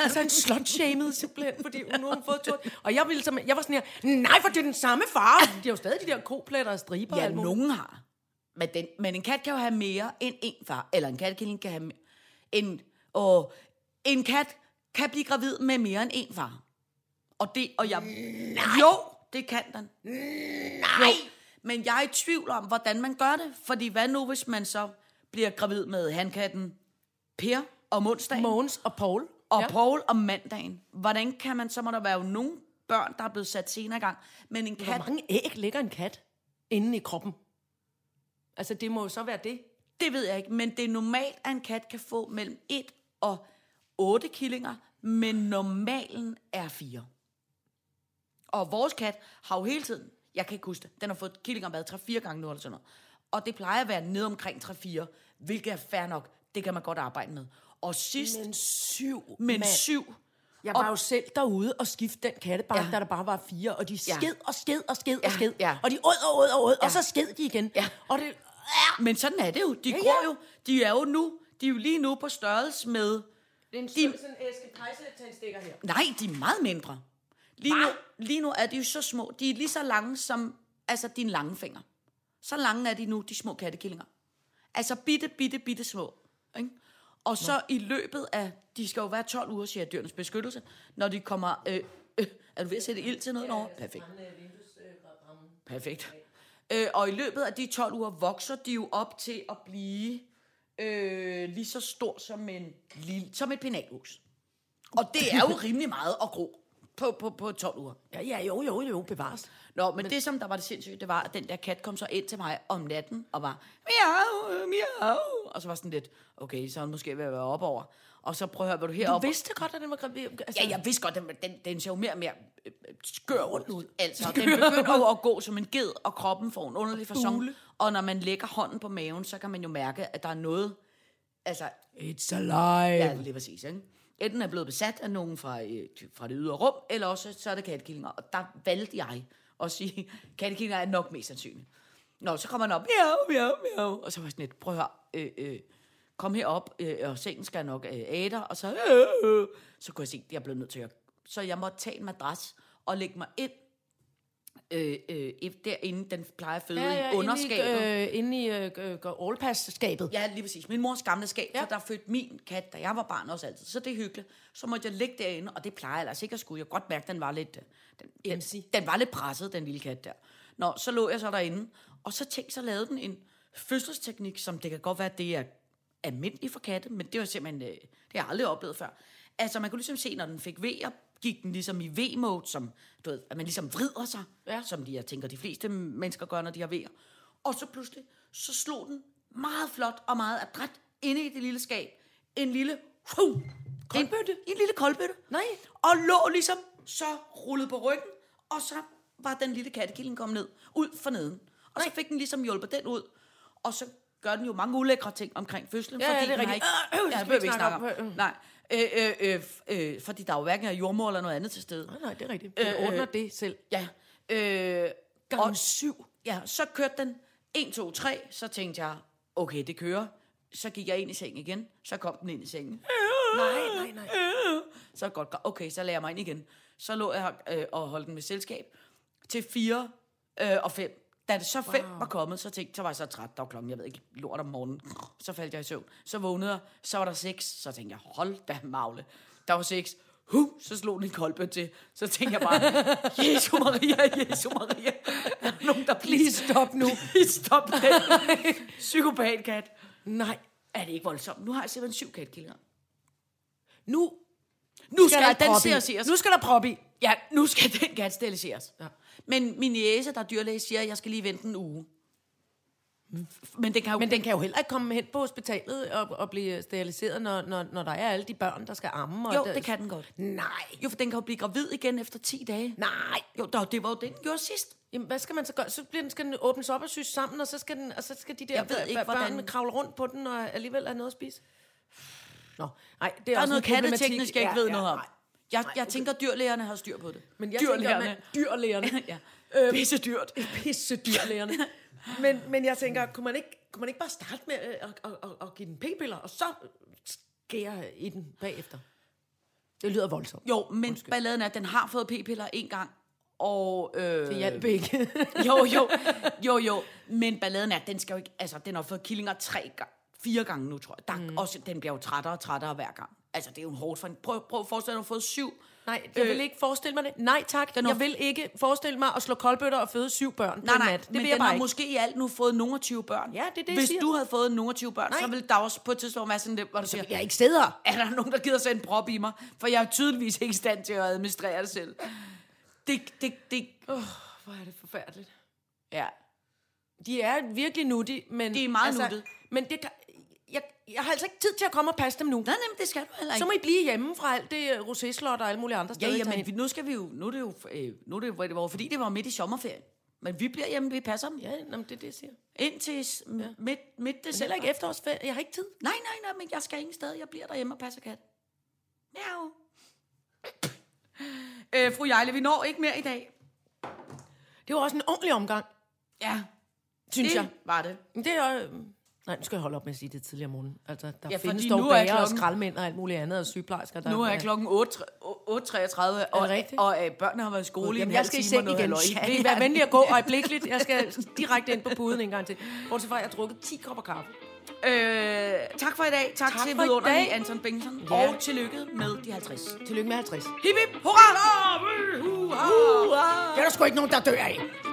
altså en slot shamed simpelthen, fordi hun nu har hun fået tort. Og jeg, ville, som, jeg var sådan her, nej, for det er den samme far. De har jo stadig de der kopletter og striber. og Ja, alt muligt. nogen har. Men, den, men en kat kan jo have mere end en far. Eller en katkilling kan have me- en, og en kat kan blive gravid med mere end en far. Og det, og jeg... Nej. Jo, det kan den. Nej. Jo, men jeg er i tvivl om, hvordan man gør det. Fordi hvad nu, hvis man så bliver gravid med hankatten Per om onsdagen? Mogens og Paul. og ja. Paul om mandagen. Hvordan kan man, så må der være jo nogle børn, der er blevet sat senere i gang. Men en Hvor kat, mange æg lægger en kat inde i kroppen? Altså, det må jo så være det. Det ved jeg ikke, men det er normalt, at en kat kan få mellem 1 og 8 killinger, men normalen er 4. Og vores kat har jo hele tiden, jeg kan ikke huske det, den har fået killinger mad 3-4 gange nu eller sådan noget. Og det plejer at være ned omkring 3-4, hvilket er fair nok. Det kan man godt arbejde med. Og sidst, men, syv, men 7, Jeg var jo selv derude og skifte den kattebank, ja. Ja. der der bare var fire, og de Ja. sked og sked og sked og Ja, sked, ja. og de åd og åd og åd, ja. Ja. og så sked de igen. Ja. Og det, men sådan er det jo. De ja, ja. gror jo. De er jo nu, de er jo lige nu på størrelse med det er en stor- sådan æske pejsetandstikker her. Nej, de er meget mindre. Lige nu, lige nu er de jo så små. De er lige så lange som altså, dine lange fingre. Så lange er de nu, de små kattekillinger. Altså bitte, bitte, bitte små. Ikke? Og så i løbet af, de skal jo være 12 uger, siger dyrenes beskyttelse, når de kommer... Øh, øh, er du ved at sætte ild til noget? Nå, perfekt. Perfekt. Øh, og i løbet af de 12 uger vokser de jo op til at blive øh, lige så stor som, en lille, som et penalhus. Og det er jo rimelig meget at gro på, på, på 12 uger. Ja, ja, jo, jo, jo, bevares. Nå, men, men det, som der var det sindssygt, det var, at den der kat kom så ind til mig om natten og var, miau, miau. Og så var sådan lidt, okay, så er hun måske ved at være op over. Og så prøv at høre, var du Du heroppe? vidste godt, at den var gravid. Altså, Ja, jeg vidste godt, den, den, den ser jo mere og mere øh, skør rundt ud. Altså, den begynder jo at gå som en ged, og kroppen får en underlig façon. Og når man lægger hånden på maven, så kan man jo mærke, at der er noget... Altså, It's alive. Ja, lige præcis, ikke? Enten er blevet besat af nogen fra, øh, ty- fra det ydre rum, eller også så er det kattekillinger. Og der valgte jeg at sige, kattekillinger er nok mest sandsynligt. Nå, så kommer han op, miau, miau, miau. Og så var jeg sådan lidt, prøv at høre, øh, øh, kom herop, øh, og sengen skal nok øh, æde dig. Og så, øh, øh, så kunne jeg se, at jeg blev nødt til at... Så jeg måtte tage en madras og lægge mig ind øh, øh, derinde, den plejer at føde Ja, i ja, underskabet. Inde i, øh, inde i øh, øh, allpass-skabet. Ja, lige præcis. Min mors gamle skab, ja. så der fødte min kat, da jeg var barn også altid. Så det er hyggeligt. Så måtte jeg ligge derinde, og det plejer jeg altså ikke at skulle. Jeg kunne godt mærke, at den var lidt, øh, den, den, den var lidt presset, den lille kat der. Nå, så lå jeg så derinde, og så tænkte så lavede den en fødselsteknik, som det kan godt være, det er almindeligt for katte, men det var simpelthen, øh, det har jeg aldrig oplevet før. Altså, man kunne ligesom se, når den fik vejer, gik den ligesom i V-mode, som, du ved, at man ligesom vrider sig, ja. som de, jeg tænker, de fleste mennesker gør, når de har vejer. Og så pludselig, så slog den meget flot og meget adræt inde i det lille skab. En lille... Huh, koldbøtte? En, en lille koldbøtte. Nej. Og lå ligesom så rullet på ryggen, og så var den lille kattekilling kommet ned, ud for neden. Og så fik den ligesom hjulpet den ud, og så gør den jo mange ulækre ting omkring fødslen. Ja, ja, fordi det er den har rigtigt. Ikke, Øh, øh, øh, ja, skal det behøver vi vi ikke snakke om. Nej, øh, øh, ikke snakke øh, f- øh, fordi der jo hverken er jordmor eller noget andet til stede. Nej, nej, det er rigtigt. Den øh, ordner det selv. Ja. Øh, Gange syv. ja, så kørte den 1, 2, 3, så tænkte jeg, okay, det kører. Så gik jeg ind i sengen igen, så kom den ind i sengen. Nej, nej, nej. Så godt, godt. okay, så lagde jeg mig ind igen. Så lå jeg øh, og holdt den med selskab til 4 øh, og 5. Da det så fem wow. var kommet, så tænkte så var jeg så træt. Der var klokken, jeg ved ikke, lort om morgenen. Så faldt jeg i søvn. Så vågnede jeg, så var der seks. Så tænkte jeg, hold da magle. Der var seks. Huh, så slog den en koldbøn til. Så tænkte jeg bare, Jesu Maria, Jesu Maria. Er der nogen, der Please stop nu. Please stop den. Psykopatkat. Nej. Er det ikke voldsomt? Nu har jeg simpelthen syv katkillinger. Nu Nu skal, skal, skal der den prop i. steriliseres. Nu skal der prop i. Ja, nu skal den gerne steriliseres. Ja. Men min jæse, der er dyrlæge, siger, at jeg skal lige vente en uge. Men den kan jo... Men den kan jo heller ikke komme hen på hospitalet og, og blive steriliseret, når, når, når der er alle de børn, der skal amme. Og jo, der- det kan den godt. Nej. Jo, for den kan jo blive gravid igen efter 10 dage. Nej. Jo, der, det var jo det, den gjorde sidst. Jamen, hvad skal man så gøre? Så bliver den, skal den åbnes op og syes sammen, og så skal, den, og så skal de der Jeg ved bør- ikke, bør- børn hvordan- kravle rundt på den og alligevel have noget at spise. Nå, nej, det er, Der er også noget en problematik. katteteknisk, jeg ikke Ja, ved ja, noget om. nej. Jeg, jeg tænker, dyrlægerne har styr på det. Men jeg dyrlægerne. tænker, man, dyrlægerne. ja. Øhm, Pisse dyrt. Pisse dyrlægerne. men, men jeg tænker, kunne man ikke, kunne man ikke bare starte med øh, at, at, at, at give den p-piller, og så skære i den bagefter? Det lyder voldsomt. Jo, men Undskyld. balladen er, at den har fået p-piller en gang, og... Øh, Det hjalp ikke. Jo, jo, jo, jo. Men balladen er, at den skal jo ikke... Altså, den har fået killinger tre gange, fire gange nu, tror jeg. Der, mm. også, den bliver jo trættere og trættere hver gang. Altså, det er jo en hårdt for en... Prøv, prøv at forestille dig, at du har fået syv. Nej, jeg øh, vil ikke forestille mig det. Nej tak, Den har- jeg vil ikke forestille mig at slå koldbøtter og føde syv børn Nej, på nej, nat. Det men vil jeg den bare har ikke. måske i alt nu fået nogle og 20 børn. Ja, det er det, jeg Hvis siger. du havde fået nogle og 20 børn, så Nej. ville der også på et tidspunkt være sådan lidt, hvor du siger, Jeg ikke sidder her. er der nogen, der gider sætte en prop i mig? For jeg er tydeligvis ikke i stand til at administrere det selv. Det, det, det, Hvor er det forfærdeligt. ja. De er virkelig nuttige, men... altså, De er meget nuttede. Men det kan, jeg, jeg har altså ikke tid til at komme og passe dem nu. Nej, nej, men det skal du heller ikke. Så må I blive hjemme fra alt det øh, roséslot og alle mulige Ja, andre steder. I tager ja, men hen. vi, nu skal vi jo, nu er det jo, øh, nu er det jo, hvor det var, fordi det var midt i sommerferien. Men vi bliver hjemme, vi passer dem. Ja. ja nå, men det er det, jeg siger. Indtil s- midt, midt Det er december. heller ikke efterårsferie. Jeg har ikke tid. Nej, nej, nej, men jeg skal ingen sted. Jeg bliver derhjemme og passer kat. Miau. Øh, fru Jejle, vi når ikke mere i dag. Det var også en ordentlig omgang, Ja, synes det jeg. var det. Men Det er... øh, Nej, nu skal jeg holde op med at sige det tidligere om morgenen. Altså, der Ja, ja, findes fordi dog nu er bager og klokken- skraldmænd og alt muligt andet, og sygeplejersker. Der Nu er klokken 8.33, og, rigtigt? og øh, børnene har været i skole i en Jamen, halv jeg skal i time. og seng noget igen. halløj. Ja, Vil I være venlig at gå øjeblikkeligt? Jeg skal direkte ind på puden en gang til. Bortset fra, at jeg har drukket 10 kopper kaffe. Øh, tak for i dag. Tak, Tak tak til for i vidunderlige dag. Anton Bengtsson. Ja. Og tillykke med de 50. Hip, Tillykke med 50. hip, hurra! Hurra! Det er der sgu ikke nogen, der dør af.